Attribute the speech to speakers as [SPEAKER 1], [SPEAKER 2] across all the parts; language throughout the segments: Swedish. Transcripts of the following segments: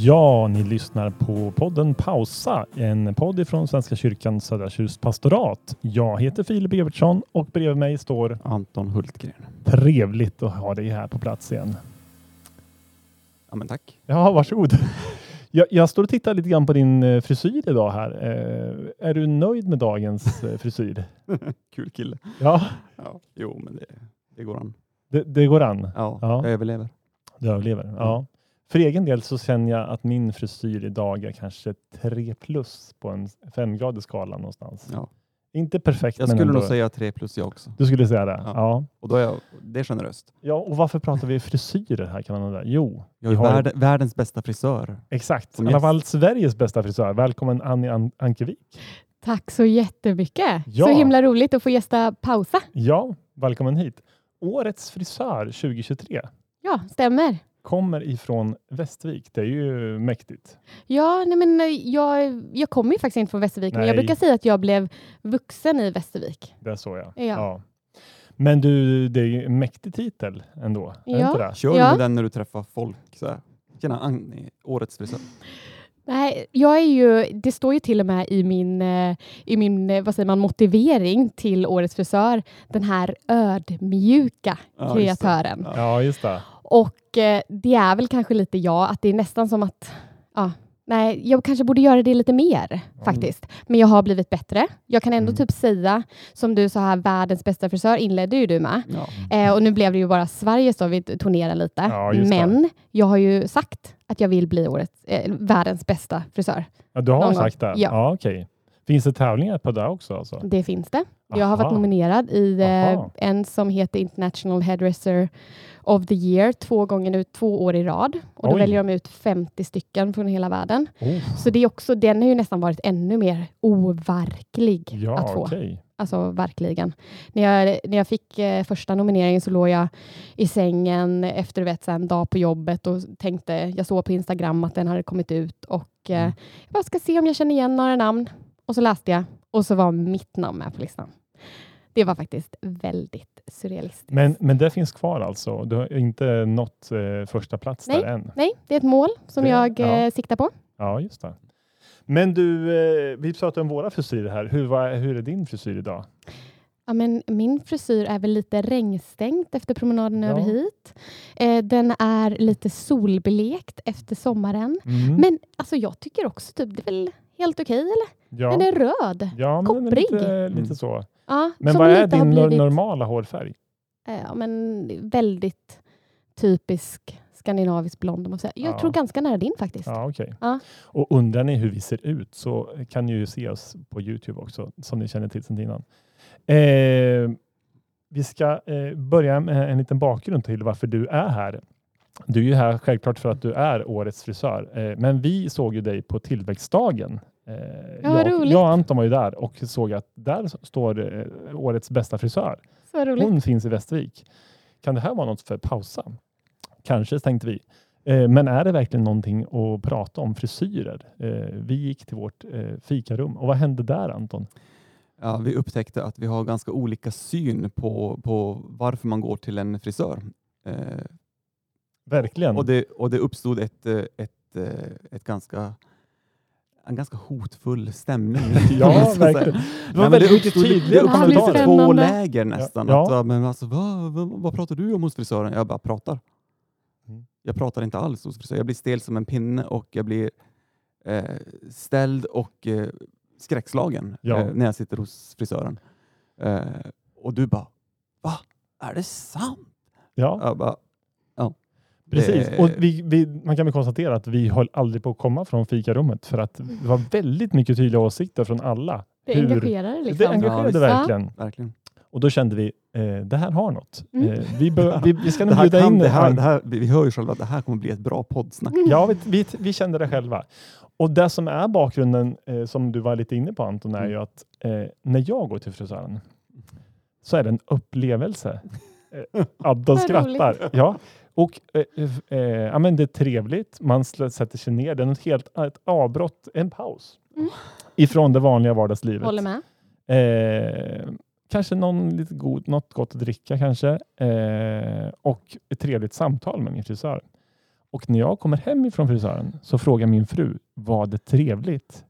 [SPEAKER 1] Ja, ni lyssnar på podden Pausa, en podd från Svenska kyrkan Södra Tjurs pastorat. Jag heter Filip Evertsson och bredvid mig står
[SPEAKER 2] Anton Hultgren.
[SPEAKER 1] trevligt att ha dig här på plats igen.
[SPEAKER 2] Ja, men tack.
[SPEAKER 1] Ja, varsågod. Jag, jag står och tittar lite grann på din eh, frisyr idag här. Eh, Är du nöjd med dagens eh, frisyr?
[SPEAKER 2] Kul kille.
[SPEAKER 1] Ja,
[SPEAKER 2] Ja. Jo, men det, det går an.
[SPEAKER 1] det, det går an.
[SPEAKER 2] Ja,
[SPEAKER 1] Ja.
[SPEAKER 2] jag överlever.
[SPEAKER 1] Du överlever. Ja. För egen del så känner jag att min frisyr idag är kanske tre plus på en femgradig skala någonstans.
[SPEAKER 2] Ja.
[SPEAKER 1] Inte perfekt,
[SPEAKER 2] Jag
[SPEAKER 1] men
[SPEAKER 2] skulle
[SPEAKER 1] ändå.
[SPEAKER 2] nog säga tre plus jag också.
[SPEAKER 1] Du skulle säga det? Ja.
[SPEAKER 2] Ja.
[SPEAKER 1] ja.
[SPEAKER 2] Och då är jag, det är generöst.
[SPEAKER 1] och varför pratar vi frisyrer här kan man undra? Jo,
[SPEAKER 2] Jag
[SPEAKER 1] Vi
[SPEAKER 2] är
[SPEAKER 1] har-
[SPEAKER 2] världen, världens bästa frisör.
[SPEAKER 1] exakt.
[SPEAKER 2] Som
[SPEAKER 1] I alla
[SPEAKER 2] gäst.
[SPEAKER 1] fall Sveriges bästa frisör. Välkommen Annie An- Ankevik.
[SPEAKER 3] Tack så jättemycket.
[SPEAKER 1] Ja.
[SPEAKER 3] Så himla roligt att få gästa Pausa.
[SPEAKER 1] Ja, välkommen hit. Årets frisör 2023
[SPEAKER 3] Ja, stämmer.
[SPEAKER 1] kommer ifrån Västervik. Det är ju mäktigt.
[SPEAKER 3] Ja, nej men eh, jag, jag kommer ju faktiskt inte från Västervik, men
[SPEAKER 1] Nej.
[SPEAKER 3] jag brukar säga att jag blev vuxen i Västervik.
[SPEAKER 1] Det såg jag.
[SPEAKER 3] Ja.
[SPEAKER 1] Men du, det är ju en mäktig titel ändå. Är det
[SPEAKER 3] Ja.
[SPEAKER 1] inte det?
[SPEAKER 2] Kör
[SPEAKER 3] Ja.
[SPEAKER 2] du med den när du träffar folk. Så här. Tjena, Agni, årets frisör.
[SPEAKER 3] Nej, jag är ju, det står ju till och med i min, eh, i min eh, vad säger man, motivering till Årets frisör, den här ödmjuka
[SPEAKER 2] Ja, just det.
[SPEAKER 3] kreatören.
[SPEAKER 2] Ja.
[SPEAKER 1] Ja, just det.
[SPEAKER 3] Och eh, det är väl kanske lite jag, att det är nästan som att ja, nej, jag kanske borde göra det lite mer faktiskt. Men jag har blivit bättre. Jag kan ändå
[SPEAKER 1] Mm.
[SPEAKER 3] typ säga, som du sa här, världens bästa frisör inledde ju du med.
[SPEAKER 2] Ja.
[SPEAKER 3] Eh, och nu blev det ju bara Sveriges då, vi turnerar lite.
[SPEAKER 1] Mm. Ja, just det.
[SPEAKER 3] Men jag har ju sagt att jag vill bli årets, eh, världens bästa frisör.
[SPEAKER 1] Ja, du har
[SPEAKER 3] Någon gång.
[SPEAKER 1] sagt det?
[SPEAKER 3] Ja.
[SPEAKER 1] okej. Finns det tävlingar på det också? Alltså?
[SPEAKER 3] Det finns det. Jag har varit
[SPEAKER 1] Aha.
[SPEAKER 3] nominerad i eh,
[SPEAKER 1] Aha.
[SPEAKER 3] en som heter International Hairdresser of the Year två gånger nu, två år i rad. Och då
[SPEAKER 1] Oj.
[SPEAKER 3] väljer de ut 50 stycken från hela världen.
[SPEAKER 1] Oh,
[SPEAKER 3] Mm. Så det är också, den har ju nästan varit ännu mer overklig att
[SPEAKER 1] ja,
[SPEAKER 3] få.
[SPEAKER 1] okej.
[SPEAKER 3] Alltså verkligen. När jag, när jag fick eh, första nomineringen så låg jag i sängen efter du vet, så här en dag på jobbet och tänkte, jag såg på Instagram att den hade kommit ut och eh,
[SPEAKER 1] Mm.
[SPEAKER 3] jag bara ska se om jag känner igen några namn. Och så läste jag och så var mitt namn med på listan. Det var faktiskt väldigt surrealistiskt.
[SPEAKER 1] Men, men det finns kvar alltså? Du har inte nått eh, första plats där än?
[SPEAKER 3] Nej, det är ett mål som
[SPEAKER 1] Det-
[SPEAKER 3] jag
[SPEAKER 1] ja.
[SPEAKER 3] eh, siktar på.
[SPEAKER 1] Ja, just det. Men du, eh, vi pratade om våra frisyrer här. Hur, var, hur är din frisyr idag?
[SPEAKER 3] Ja, men min frisyr är väl lite regnstängt efter promenaden
[SPEAKER 1] Ja.
[SPEAKER 3] över hit. Eh, den är lite solblekt efter sommaren.
[SPEAKER 1] Mm.
[SPEAKER 3] Men alltså, jag tycker också typ, det är väl helt okej, eller?
[SPEAKER 1] ja.
[SPEAKER 3] Den är röd.
[SPEAKER 1] ja, men den är lite,
[SPEAKER 3] kopprig.
[SPEAKER 1] lite så.
[SPEAKER 3] Ja,
[SPEAKER 1] Men
[SPEAKER 3] som
[SPEAKER 1] vad är
[SPEAKER 3] lite har
[SPEAKER 1] din nor-
[SPEAKER 3] blivit,
[SPEAKER 1] normala hårfärg?
[SPEAKER 3] eh, ja, men väldigt typisk skandinavisk blond. Om man säger. Jag
[SPEAKER 1] Ja.
[SPEAKER 3] tror ganska nära din faktiskt. Ja.
[SPEAKER 1] Ja, okej.
[SPEAKER 3] Ja.
[SPEAKER 1] Och undrar ni hur vi ser ut så kan ni ju se oss på Youtube också, som ni känner till sedan innan. Eh, vi ska eh, börja med en liten bakgrund till varför du är här. Du är ju här självklart för att du är årets frisör, eh, men vi såg ju dig på tillväxtdagen. Eh,
[SPEAKER 3] vad
[SPEAKER 1] jag,
[SPEAKER 3] roligt.
[SPEAKER 1] jag och Anton var ju där och såg att där s- står eh, årets bästa frisör.
[SPEAKER 3] Så roligt.
[SPEAKER 1] Hon finns i Västervik. Kan det här vara något för pausa? Kanske, tänkte vi. Eh, Men är det verkligen någonting att prata om frisyrer? Eh, Vi gick till vårt eh, fikarum och vad hände där Anton?
[SPEAKER 2] Ja, vi upptäckte att vi har ganska olika syn på, på varför man går till en frisör. Eh,
[SPEAKER 1] Verkligen.
[SPEAKER 2] Och det, och det uppstod ett, eh, ett, eh, ett ganska, en ganska hotfull stämning. om man
[SPEAKER 1] ja,
[SPEAKER 2] ska säga.
[SPEAKER 1] verkligen. Det
[SPEAKER 2] Nej,
[SPEAKER 1] var
[SPEAKER 2] men
[SPEAKER 1] väldigt
[SPEAKER 2] uppstod-
[SPEAKER 1] tydliga
[SPEAKER 2] Det uppstod
[SPEAKER 3] kommentarer.
[SPEAKER 2] lite två
[SPEAKER 3] Spännande.
[SPEAKER 2] läger nästan.
[SPEAKER 1] Ja.
[SPEAKER 2] Att, va, men alltså, va, va, vad pratar du om hos frisören? Jag bara pratar.
[SPEAKER 1] Mm.
[SPEAKER 2] Jag pratar inte alls hos frisören. Jag blir stel som en pinne och jag blir eh, ställd och eh, skräckslagen
[SPEAKER 1] Ja.
[SPEAKER 2] eh, när jag sitter hos frisören. Eh, och du bara, va? Är det sant?
[SPEAKER 1] Ja,
[SPEAKER 2] Jag bara,
[SPEAKER 1] precis.
[SPEAKER 2] det-
[SPEAKER 1] Och vi, vi, man kan väl konstatera att vi höll aldrig på att komma från fikarummet för att det var väldigt mycket tydliga åsikter från alla.
[SPEAKER 3] det
[SPEAKER 1] hur-
[SPEAKER 3] engagerar dig
[SPEAKER 1] Det
[SPEAKER 3] liksom.
[SPEAKER 2] engagerar- Ja,
[SPEAKER 1] engagerade
[SPEAKER 2] visst.
[SPEAKER 1] verkligen.
[SPEAKER 2] verkligen.
[SPEAKER 1] Och då kände vi, eh, det här har något.
[SPEAKER 3] Mm.
[SPEAKER 1] Eh, vi, bör, vi, vi ska
[SPEAKER 2] Det
[SPEAKER 1] nog
[SPEAKER 2] här
[SPEAKER 1] bjuda
[SPEAKER 2] kan,
[SPEAKER 1] in Mm.
[SPEAKER 2] det här,
[SPEAKER 1] Anton.
[SPEAKER 2] det här, vi vi hör ju själva att det här kommer bli ett bra poddsnack.
[SPEAKER 1] Ja, vi, vi, vi kände det själva. Och det som är bakgrunden, eh, som du var lite inne på Anton, är ju
[SPEAKER 3] Mm.
[SPEAKER 1] att eh, när jag går till frisören så är det en upplevelse. Eh, Adda
[SPEAKER 3] Vad
[SPEAKER 1] skrattar. Ja. Och, eh, eh, ja, men det är trevligt, man slä- sätter sig ner. Det är något helt, ett avbrott, en paus
[SPEAKER 3] Mm.
[SPEAKER 1] ifrån det vanliga vardagslivet.
[SPEAKER 3] Håller med.
[SPEAKER 1] Eh, kanske någon lite god, något gott att dricka kanske. Eh, och ett trevligt samtal med min frisör. Och när jag kommer hem ifrån frisören så frågar min fru, var det trevligt?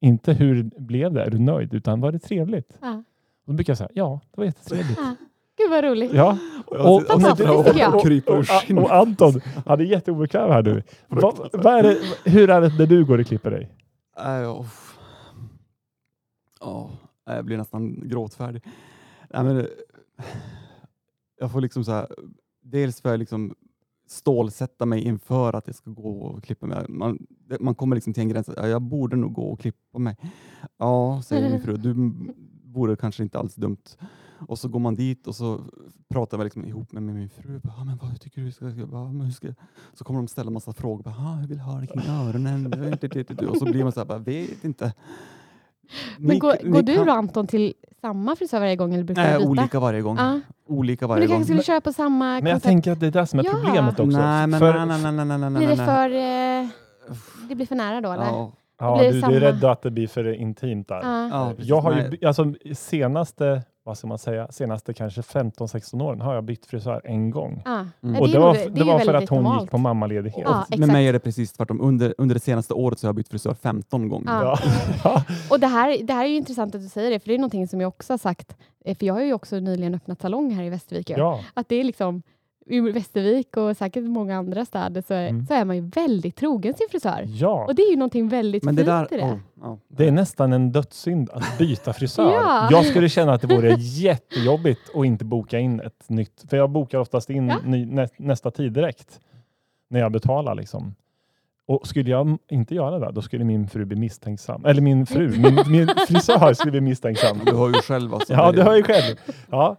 [SPEAKER 1] Inte hur blev det? Är du nöjd? Utan var det trevligt?
[SPEAKER 3] Ja.
[SPEAKER 1] Då brukar jag säga, ja, det var jättetrevligt.
[SPEAKER 3] Ja. Gud vad roligt.
[SPEAKER 1] Ja,
[SPEAKER 2] Och,
[SPEAKER 1] och-
[SPEAKER 3] Fantastiskt,
[SPEAKER 1] och-
[SPEAKER 3] tycker jag.
[SPEAKER 1] och-
[SPEAKER 2] kryper ur
[SPEAKER 1] och-
[SPEAKER 2] skinnet.
[SPEAKER 1] och Anton, han är jätteobekväm här nu. Va, vad är det, hur är det när du går och klipper dig?
[SPEAKER 2] Nej, jag- uff. Äh, Ja, äh, jag blir nästan gråtfärdig. Nej, men, eh, jag får liksom så här, dels får jag liksom stålsätta mig inför att jag ska gå och klippa mig. Man, det- man kommer liksom till en gräns, att, ja, jag borde nog gå och klippa mig. Ja, säger min fru, du m- vore kanske inte alls dumt. Och så går man dit och så pratar man liksom ihop med min fru. Bara, "Ah, men vad tycker du? Ska, jag- ja, men hur ska, jag-" så kommer de ställa massa frågor. Bara, "Ah, jag vill ha det kring öronen. Och så blir man så här, bara, vet inte.
[SPEAKER 3] Men
[SPEAKER 2] Ni-
[SPEAKER 3] går,
[SPEAKER 2] ni
[SPEAKER 3] går du
[SPEAKER 2] kan-
[SPEAKER 3] och Anton till samma frisör varje gång eller brukar du
[SPEAKER 2] Nej,
[SPEAKER 3] byta?
[SPEAKER 2] olika varje gång.
[SPEAKER 3] Ja.
[SPEAKER 2] Olika
[SPEAKER 3] Men
[SPEAKER 2] varje
[SPEAKER 3] du
[SPEAKER 2] gång.
[SPEAKER 3] kanske skulle köra på samma
[SPEAKER 1] Men jag
[SPEAKER 3] koncept?
[SPEAKER 1] tänker att det är det som är
[SPEAKER 3] Ja.
[SPEAKER 1] problemet också.
[SPEAKER 2] Nej, men
[SPEAKER 1] För-
[SPEAKER 2] nej, nej, nej, nej, nej, nej,
[SPEAKER 3] Blir det
[SPEAKER 2] nej.
[SPEAKER 3] för... Eh, det blir för nära då eller?
[SPEAKER 2] Ja,
[SPEAKER 1] Ja,
[SPEAKER 3] blir det
[SPEAKER 1] du, du är
[SPEAKER 3] samma.
[SPEAKER 1] rädd att det blir för intimt där.
[SPEAKER 3] Ja.
[SPEAKER 2] ja, precis.
[SPEAKER 1] Jag har ju,
[SPEAKER 2] Nej.
[SPEAKER 1] by- alltså, senaste, vad ska man säga, senaste kanske 15-16 åren har jag bytt frisör en gång.
[SPEAKER 3] Ja.
[SPEAKER 2] Mm.
[SPEAKER 3] Ja,
[SPEAKER 1] Och
[SPEAKER 3] är
[SPEAKER 1] det
[SPEAKER 3] nog-
[SPEAKER 1] var,
[SPEAKER 3] är
[SPEAKER 1] f- det
[SPEAKER 3] ju
[SPEAKER 1] var för
[SPEAKER 3] väldigt
[SPEAKER 1] att hon
[SPEAKER 3] normalt.
[SPEAKER 1] gick på mammaledighet.
[SPEAKER 3] Ja,
[SPEAKER 2] Med
[SPEAKER 3] exakt.
[SPEAKER 2] mig är det precis tvärtom. Under, under det senaste året så har jag bytt frisör 15 gånger.
[SPEAKER 3] Ja.
[SPEAKER 1] Ja. Ja.
[SPEAKER 3] Och det här, det här är ju intressant att du säger det, för det är någonting som jag också har sagt, eh, för jag har ju också nyligen öppnat salong här i Västervik. ju.
[SPEAKER 1] Ja.
[SPEAKER 3] Att det är liksom, i Västervik och säkert många andra städer så är,
[SPEAKER 1] Mm.
[SPEAKER 3] så är man ju väldigt trogen sin frisör.
[SPEAKER 1] ja,
[SPEAKER 3] Och det är ju någonting väldigt
[SPEAKER 2] Men det
[SPEAKER 3] fint
[SPEAKER 2] där... oh,
[SPEAKER 3] i det.
[SPEAKER 2] ja, ja.
[SPEAKER 1] det är nästan en dödssynd att byta frisör.
[SPEAKER 3] Ja.
[SPEAKER 1] Jag skulle känna att det vore jättejobbigt att inte boka in ett nytt, för jag bokar oftast in
[SPEAKER 3] Ja.
[SPEAKER 1] ny, nä, nästa tid direkt när jag betalar. Liksom. Och skulle jag m- inte göra det, då skulle min fru bli misstänksam. Eller min fru, min, min frisör skulle bli misstänksam.
[SPEAKER 2] Du hör ju själv alltså.
[SPEAKER 1] Ja,
[SPEAKER 2] Det-
[SPEAKER 1] du hör ju själv. Ja.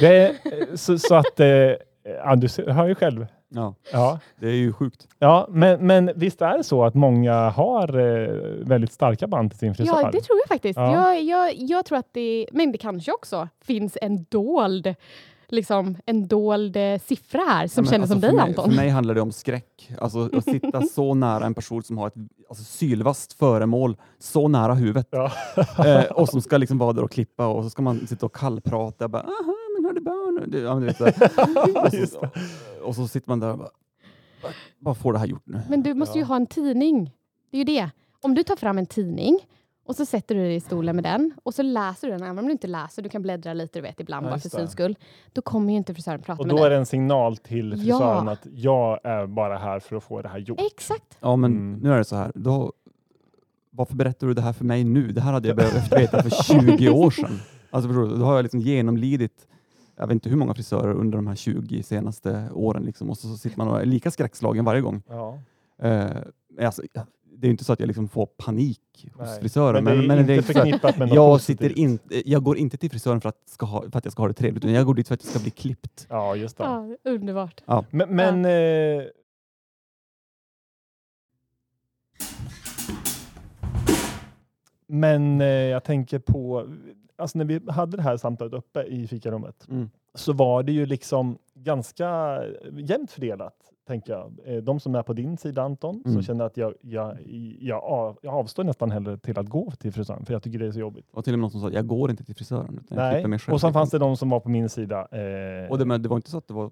[SPEAKER 1] Det är, så, så att, eh, ja, du ser- hör ju själv.
[SPEAKER 2] ja,
[SPEAKER 1] Ja.
[SPEAKER 2] det är ju sjukt.
[SPEAKER 1] Ja, men, men visst är det så att många har eh, väldigt starka band till sin frisör?
[SPEAKER 3] Ja, det tror jag faktiskt.
[SPEAKER 1] Ja.
[SPEAKER 3] Jag, jag, jag tror att det, men det kanske också finns en dold, liksom, en dold eh, siffra här
[SPEAKER 2] Ja,
[SPEAKER 3] som
[SPEAKER 2] men
[SPEAKER 3] känner
[SPEAKER 2] alltså
[SPEAKER 3] som
[SPEAKER 2] för
[SPEAKER 3] dig
[SPEAKER 2] mig,
[SPEAKER 3] Anton.
[SPEAKER 2] För mig handlar det om skräck. Alltså att sitta så nära en person som har ett alltså, sylvast föremål så nära huvudet.
[SPEAKER 1] Ja.
[SPEAKER 2] Eh, och som ska liksom vara där och klippa och så ska man sitta och kallprata. Bara, Aha, men har du barn? Du, ja, men du vet, så här. och,
[SPEAKER 1] Just
[SPEAKER 2] så, och så sitter man där och bara, "Vad- vad får det här gjort nu?
[SPEAKER 3] Men du måste ju
[SPEAKER 1] Ja.
[SPEAKER 3] ha en tidning. Det är ju det. Om du tar fram en tidning och så sätter du dig i stolen med den och så läser du den, även om du inte läser, du kan bläddra lite du vet ibland
[SPEAKER 1] Ja,
[SPEAKER 3] bara för
[SPEAKER 1] just det.
[SPEAKER 3] syns skull. Då kommer ju inte frisören prata
[SPEAKER 1] Och
[SPEAKER 3] med
[SPEAKER 1] då är
[SPEAKER 3] dig.
[SPEAKER 1] det en signal till frisören
[SPEAKER 3] Ja.
[SPEAKER 1] att jag är bara här för att få det här gjort.
[SPEAKER 3] Exakt.
[SPEAKER 2] Ja, men
[SPEAKER 1] Mm.
[SPEAKER 2] nu är det så här. Då, varför berättar du det här för mig nu? Det här hade jag behövt veta för 20 år sedan. Alltså, förstår du? Då har jag liksom genomlidit jag vet inte hur många frisörer under de här 20 senaste åren liksom, och så, så sitter man och är lika skräckslagen varje gång.
[SPEAKER 1] Ja.
[SPEAKER 2] Eh, men alltså, jag- det är ju inte så att jag liksom får panik hos
[SPEAKER 1] Nej.
[SPEAKER 2] frisören.
[SPEAKER 1] men det är inte
[SPEAKER 2] liksom så här-
[SPEAKER 1] förknippat med något
[SPEAKER 2] jag,
[SPEAKER 1] positivt.
[SPEAKER 2] sitter in, jag går inte till frisören för att, ska ha, för att jag ska ha det trevligt, utan jag går dit för att jag ska bli klippt.
[SPEAKER 1] Ja, just det.
[SPEAKER 3] Ja, underbart.
[SPEAKER 1] Men, men eh, Men eh, jag tänker på, alltså när vi hade det här samtalet uppe i fikarummet så var det ju liksom ganska jämnt fördelat, tänker jag. Eh, De som är på din sida Anton,
[SPEAKER 2] Mm.
[SPEAKER 1] som känner att jag, jag, jag, av, jag avstår nästan hellre till att gå till frisören, för jag tycker det är så jobbigt.
[SPEAKER 2] Och till och med någon som sa, jag går inte till frisören, utan jag klipper mig
[SPEAKER 1] Nej.
[SPEAKER 2] själv.
[SPEAKER 1] Och sen fanns det de som var på min sida. Eh,
[SPEAKER 2] Och det, men det var inte så att det var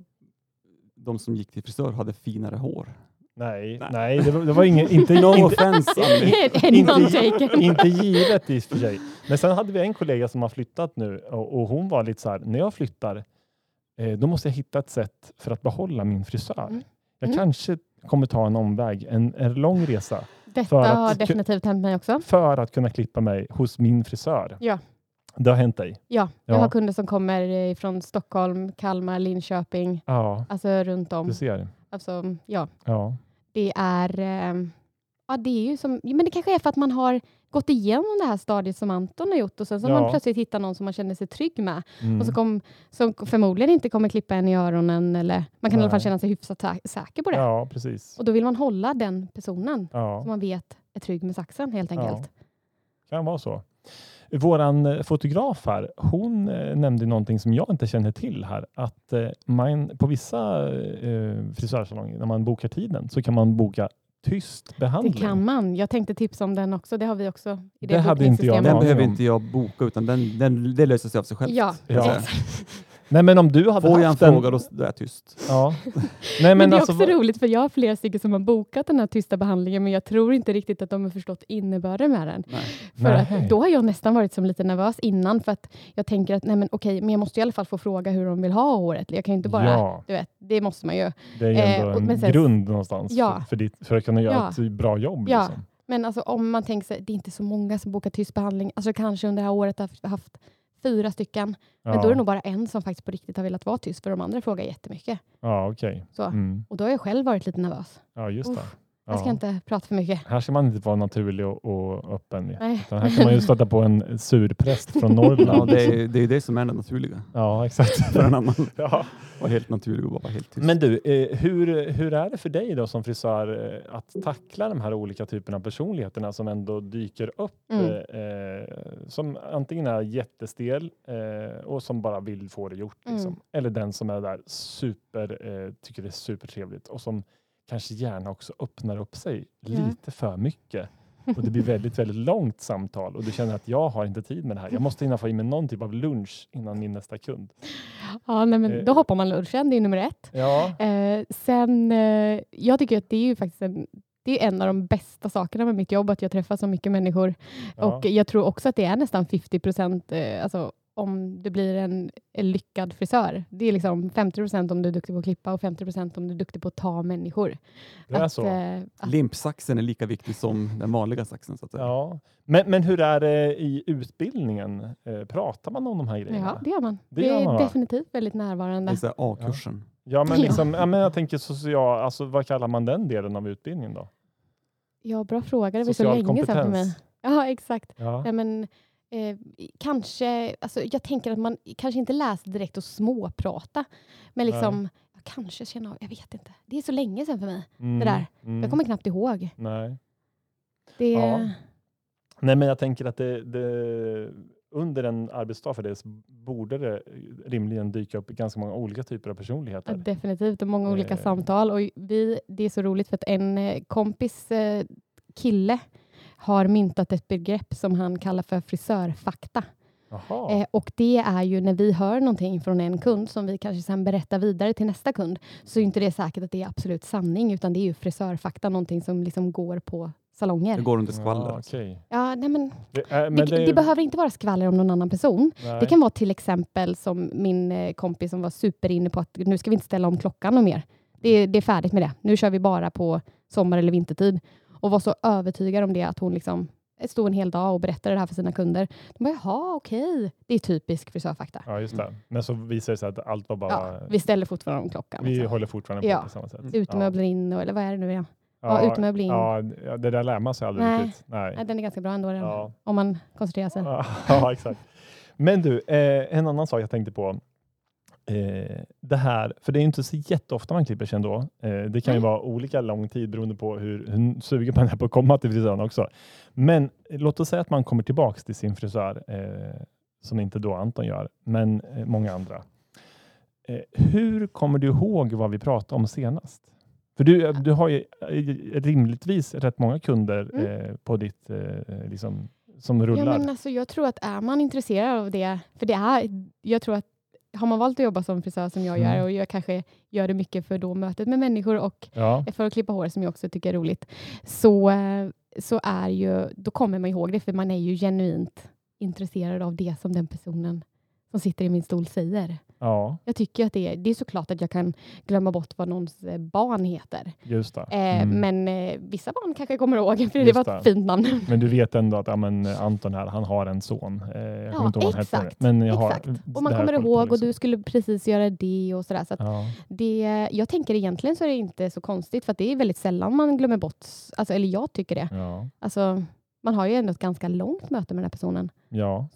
[SPEAKER 2] de som gick till frisör hade finare hår.
[SPEAKER 1] nej,
[SPEAKER 2] Nej.
[SPEAKER 1] nej, det, var- det var ingen, inte,
[SPEAKER 2] No
[SPEAKER 1] inte,
[SPEAKER 2] offense Annie.
[SPEAKER 1] Inte-
[SPEAKER 3] Anyone taken.
[SPEAKER 1] inte givet i och för sig. Men sen hade vi en kollega som har flyttat nu och, och hon var lite så här, när jag flyttar, eh, då måste jag hitta ett sätt för att behålla min frisör.
[SPEAKER 3] Mm.
[SPEAKER 1] Jag
[SPEAKER 3] Mm.
[SPEAKER 1] kanske kommer ta en omväg, en, en lång resa,
[SPEAKER 3] Detta
[SPEAKER 1] För att-
[SPEAKER 3] har definitivt hänt mig också.
[SPEAKER 1] för att kunna klippa mig hos min frisör.
[SPEAKER 3] Ja.
[SPEAKER 1] Det har hänt dig?
[SPEAKER 3] Ja, jag
[SPEAKER 1] Ja.
[SPEAKER 3] har kunder som kommer eh, från Stockholm, Kalmar, Linköping,
[SPEAKER 1] Ja,
[SPEAKER 3] alltså runt om.
[SPEAKER 1] du ser.
[SPEAKER 3] Alltså, ja.
[SPEAKER 1] Ja.
[SPEAKER 3] det är... ehm, Ja, det är ju som, men det kanske är för att man har gått igenom det här stadiet som Anton har gjort och sen så har man
[SPEAKER 1] Ja.
[SPEAKER 3] plötsligt hittat någon som man känner sig trygg med
[SPEAKER 1] Mm.
[SPEAKER 3] och så kom, som förmodligen inte kommer klippa en i öronen eller man kan i alla fall
[SPEAKER 1] Nej.
[SPEAKER 3] känna sig hyfsat sä- säker på det.
[SPEAKER 1] Ja, precis.
[SPEAKER 3] Och då vill man hålla den personen
[SPEAKER 1] Ja.
[SPEAKER 3] som man vet är trygg med saxen helt
[SPEAKER 1] Ja.
[SPEAKER 3] enkelt.
[SPEAKER 1] kan vara så. Våran eh, fotograf här, hon eh, nämnde någonting som jag inte känner till här, att eh, man på vissa eh, frisörsalonger, när man bokar tiden, så kan man boka tyst
[SPEAKER 3] Det
[SPEAKER 1] behandling.
[SPEAKER 3] kan man. Jag tänkte tipsa om den också. Det har vi också i det,
[SPEAKER 1] Det hade inte jag
[SPEAKER 3] bokningssystemet.
[SPEAKER 1] någon
[SPEAKER 2] Den behöver
[SPEAKER 1] aning om.
[SPEAKER 2] inte jag boka, utan den, den, det löser sig av sig självt.
[SPEAKER 3] Ja,
[SPEAKER 1] Ja.
[SPEAKER 3] exakt.
[SPEAKER 1] Nej, men om du hade
[SPEAKER 2] Får jag en
[SPEAKER 1] haft en...
[SPEAKER 2] fråga då s- då är jag tyst.
[SPEAKER 1] Ja. Nej, men
[SPEAKER 3] Men, det är
[SPEAKER 1] alltså,
[SPEAKER 3] också
[SPEAKER 1] vad-
[SPEAKER 3] roligt för jag har flera stycken som har bokat den här tysta behandlingen men jag tror inte riktigt att de har förstått innebörden med den.
[SPEAKER 2] Nej.
[SPEAKER 3] För
[SPEAKER 1] Nej.
[SPEAKER 3] att, då har jag nästan varit som lite nervös innan för att jag tänker att nej men okej, men jag måste i alla fall få fråga hur de vill ha håret. Jag kan ju inte bara,
[SPEAKER 1] Ja,
[SPEAKER 3] du vet, det måste man ju.
[SPEAKER 1] det är ju ändå
[SPEAKER 3] Eh, och-
[SPEAKER 1] en
[SPEAKER 3] men sen-
[SPEAKER 1] grund någonstans för,
[SPEAKER 3] Ja.
[SPEAKER 1] för, ditt, för att kunna göra
[SPEAKER 3] Ja.
[SPEAKER 1] ett bra jobb.
[SPEAKER 3] Ja.
[SPEAKER 1] Liksom.
[SPEAKER 3] Men alltså om man tänker sig, det är inte så många som bokar tyst behandling. Alltså kanske under det här året har jag haft fyra stycken.
[SPEAKER 1] Ja.
[SPEAKER 3] Men då är det nog bara en som faktiskt på riktigt har velat vara tyst för de andra frågar jättemycket.
[SPEAKER 1] Ja, okej.
[SPEAKER 3] Så.
[SPEAKER 1] Mm.
[SPEAKER 3] Och då har jag själv varit lite nervös.
[SPEAKER 1] Ja, just det.
[SPEAKER 3] Uff,
[SPEAKER 1] Ja.
[SPEAKER 3] Jag ska inte prata för mycket.
[SPEAKER 1] Här ska man inte vara naturlig och, och öppen. Ja.
[SPEAKER 3] Nej.
[SPEAKER 1] Utan här kan man ju stöta på en surpräst från
[SPEAKER 2] Ja,
[SPEAKER 1] Norrland. liksom.
[SPEAKER 2] det, är, det är det som är det naturliga.
[SPEAKER 1] ja exakt.
[SPEAKER 2] För en annan
[SPEAKER 1] Ja.
[SPEAKER 2] var helt naturlig och bara helt tyst.
[SPEAKER 1] Men du, eh, hur, hur är det för dig då som frisör eh, att tackla de här olika typerna av personligheterna som ändå dyker upp?
[SPEAKER 3] Mm.
[SPEAKER 1] eh, Eh, som antingen är jättestel eh, och som bara vill få det gjort.
[SPEAKER 3] Mm.
[SPEAKER 1] Liksom. Eller den som är där super, eh, tycker det är supertrevligt och som kanske gärna också öppnar upp sig
[SPEAKER 3] Ja.
[SPEAKER 1] lite för mycket. Och det blir väldigt, väldigt långt samtal och du känner att jag har inte tid med det här. Jag måste hinna få i mig någon typ av lunch innan min nästa kund.
[SPEAKER 3] Ja, nej,
[SPEAKER 1] Eh.
[SPEAKER 3] men då hoppar man lunchen, det är nummer ett.
[SPEAKER 1] Ja,
[SPEAKER 3] Eh, sen, eh, jag tycker att det är ju faktiskt en, det är en av de bästa sakerna med mitt jobb, att jag träffar så mycket människor.
[SPEAKER 1] ja.
[SPEAKER 3] Och jag tror också att det är nästan 50 procent, eh, alltså, om du blir en, en lyckad frisör. Det är liksom 50 procent om du är duktig på att klippa och 50 procent om du är duktig på att ta människor.
[SPEAKER 1] det är
[SPEAKER 3] att,
[SPEAKER 1] så.
[SPEAKER 3] eh, att,
[SPEAKER 2] Limpsaxen är lika viktig som den vanliga saxen. Så att säga.
[SPEAKER 1] Ja. Men, men hur är det i utbildningen? Eh, pratar man om de här grejerna?
[SPEAKER 3] ja, det gör man.
[SPEAKER 1] Det
[SPEAKER 3] Det,
[SPEAKER 1] gör
[SPEAKER 3] är
[SPEAKER 1] man, va?
[SPEAKER 3] definitivt väldigt närvarande.
[SPEAKER 2] Det är så här A-kursen.
[SPEAKER 1] Ja, men,
[SPEAKER 3] Ja.
[SPEAKER 1] liksom, ja, men jag tänker social, alltså, vad kallar man den delen av utbildningen då?
[SPEAKER 3] Ja, bra fråga. Det var så länge sedan för mig. Ja, exakt.
[SPEAKER 1] Ja.
[SPEAKER 3] Nej, men, eh, kanske, alltså, jag tänker att man kanske inte läser direkt och småprata, men
[SPEAKER 1] Nej.
[SPEAKER 3] liksom, jag kanske känner av, jag vet inte. Det är så länge sedan för mig.
[SPEAKER 1] Mm,
[SPEAKER 3] där.
[SPEAKER 1] mm,
[SPEAKER 3] Jag kommer knappt ihåg.
[SPEAKER 1] Nej.
[SPEAKER 3] Det,
[SPEAKER 1] Ja. Nej, men jag tänker att det, det, under en arbetsdag för dig så borde det rimligen dyka upp ganska många olika typer av
[SPEAKER 3] Ja,
[SPEAKER 1] personligheter.
[SPEAKER 3] Definitivt, och många olika
[SPEAKER 1] Eh.
[SPEAKER 3] samtal. Och vi, det är så roligt för att en eh, kompis eh, kille har myntat ett begrepp som han kallar för frisörfakta.
[SPEAKER 1] Jaha.
[SPEAKER 3] Eh, och det är ju när vi hör någonting från en kund som vi kanske sen berättar vidare till nästa kund, så är inte det säkert att det är absolut sanning, utan det är ju frisörfakta, någonting som liksom går på
[SPEAKER 2] Det
[SPEAKER 3] salonger.
[SPEAKER 2] går under skvaller.
[SPEAKER 1] Ja,
[SPEAKER 2] alltså.
[SPEAKER 1] okej.
[SPEAKER 3] Ja, nej men,
[SPEAKER 1] det, är-
[SPEAKER 3] det,
[SPEAKER 1] men
[SPEAKER 3] det, behöver inte vara skvaller om någon annan person.
[SPEAKER 1] nej.
[SPEAKER 3] Det kan vara till exempel som min eh, kompis som var superinne på att nu ska vi inte ställa om klockan och mer. Det, är- det är färdigt med det. Nu kör vi bara på sommar eller vintertid. Och var så övertygad om det att hon liksom stod en hel dag och berättade det här för sina kunder. De bara, jaha, okej. Det är typisk frisörfakta.
[SPEAKER 1] ja, just det. Men så visar det sig att allt var bara...
[SPEAKER 3] Ja, vi ställer fortfarande om klockan.
[SPEAKER 1] vi
[SPEAKER 3] Liksom.
[SPEAKER 1] håller fortfarande på
[SPEAKER 3] Ja.
[SPEAKER 1] på samma sätt.
[SPEAKER 3] Utemöbler in och, eller vad är det nu igen? Ja, utemöbler in.
[SPEAKER 1] Ja, ja, det där lär man sig aldrig
[SPEAKER 3] Nej.
[SPEAKER 1] riktigt. Nej.
[SPEAKER 3] Nej, den är ganska bra ändå, den,
[SPEAKER 1] Ja.
[SPEAKER 3] om man koncentrerar sig.
[SPEAKER 1] Ja, ja, exakt. Men du, eh, en annan sak jag tänkte på. Eh, det här, för det är ju inte så jätteofta man klipper sig ändå. Eh, det kan ju
[SPEAKER 3] Nej.
[SPEAKER 1] vara olika lång tid beroende på hur, hur sugen man är på att komma till frisören också. Men eh, låt oss säga att man kommer tillbaks till sin frisör, eh, som inte då Anton gör, men eh, många andra. Eh, hur kommer du ihåg vad vi pratade om senast? För du, du har ju eh, rimligtvis rätt många kunder eh, på ditt, eh, liksom, som rullar.
[SPEAKER 3] Mm. Ja, men alltså, jag tror att är man intresserad av det, för det är, jag tror att har man valt att jobba som frisör som jag
[SPEAKER 1] Mm.
[SPEAKER 3] gör och jag kanske gör det mycket för då mötet med människor och
[SPEAKER 1] Ja,
[SPEAKER 3] för att klippa hår som jag också tycker är roligt, så, eh, så är ju, då kommer man ihåg det för man är ju genuint intresserad av det som den personen som sitter i min stol säger.
[SPEAKER 1] ja
[SPEAKER 3] Jag tycker att det är, det är såklart att jag kan glömma bort vad någons eh, barn heter.
[SPEAKER 1] just det.
[SPEAKER 3] Eh,
[SPEAKER 1] Mm. men...
[SPEAKER 3] Men eh, vissa barn kanske jag kommer ihåg, för det
[SPEAKER 1] Just
[SPEAKER 3] var ett
[SPEAKER 1] det.
[SPEAKER 3] fint namn.
[SPEAKER 1] du vet ändå att ja, men eh, Anton här, han har en son. Eh, jag kommer
[SPEAKER 3] Ja,
[SPEAKER 1] inte ihåg vad han heter nu,
[SPEAKER 3] exakt,
[SPEAKER 1] Men jag har
[SPEAKER 3] Exakt.
[SPEAKER 1] det
[SPEAKER 3] Och man
[SPEAKER 1] här
[SPEAKER 3] kommer
[SPEAKER 1] koll på,
[SPEAKER 3] ihåg och
[SPEAKER 1] liksom.
[SPEAKER 3] du skulle precis göra det och sådär. Så att
[SPEAKER 1] Ja,
[SPEAKER 3] det, jag tänker egentligen så är det inte så konstigt för att det är väldigt sällan man glömmer bort, alltså, eller jag tycker det.
[SPEAKER 1] ja,
[SPEAKER 3] Alltså, man har ju ändå ett ganska långt möte med den här personen,
[SPEAKER 1] ja,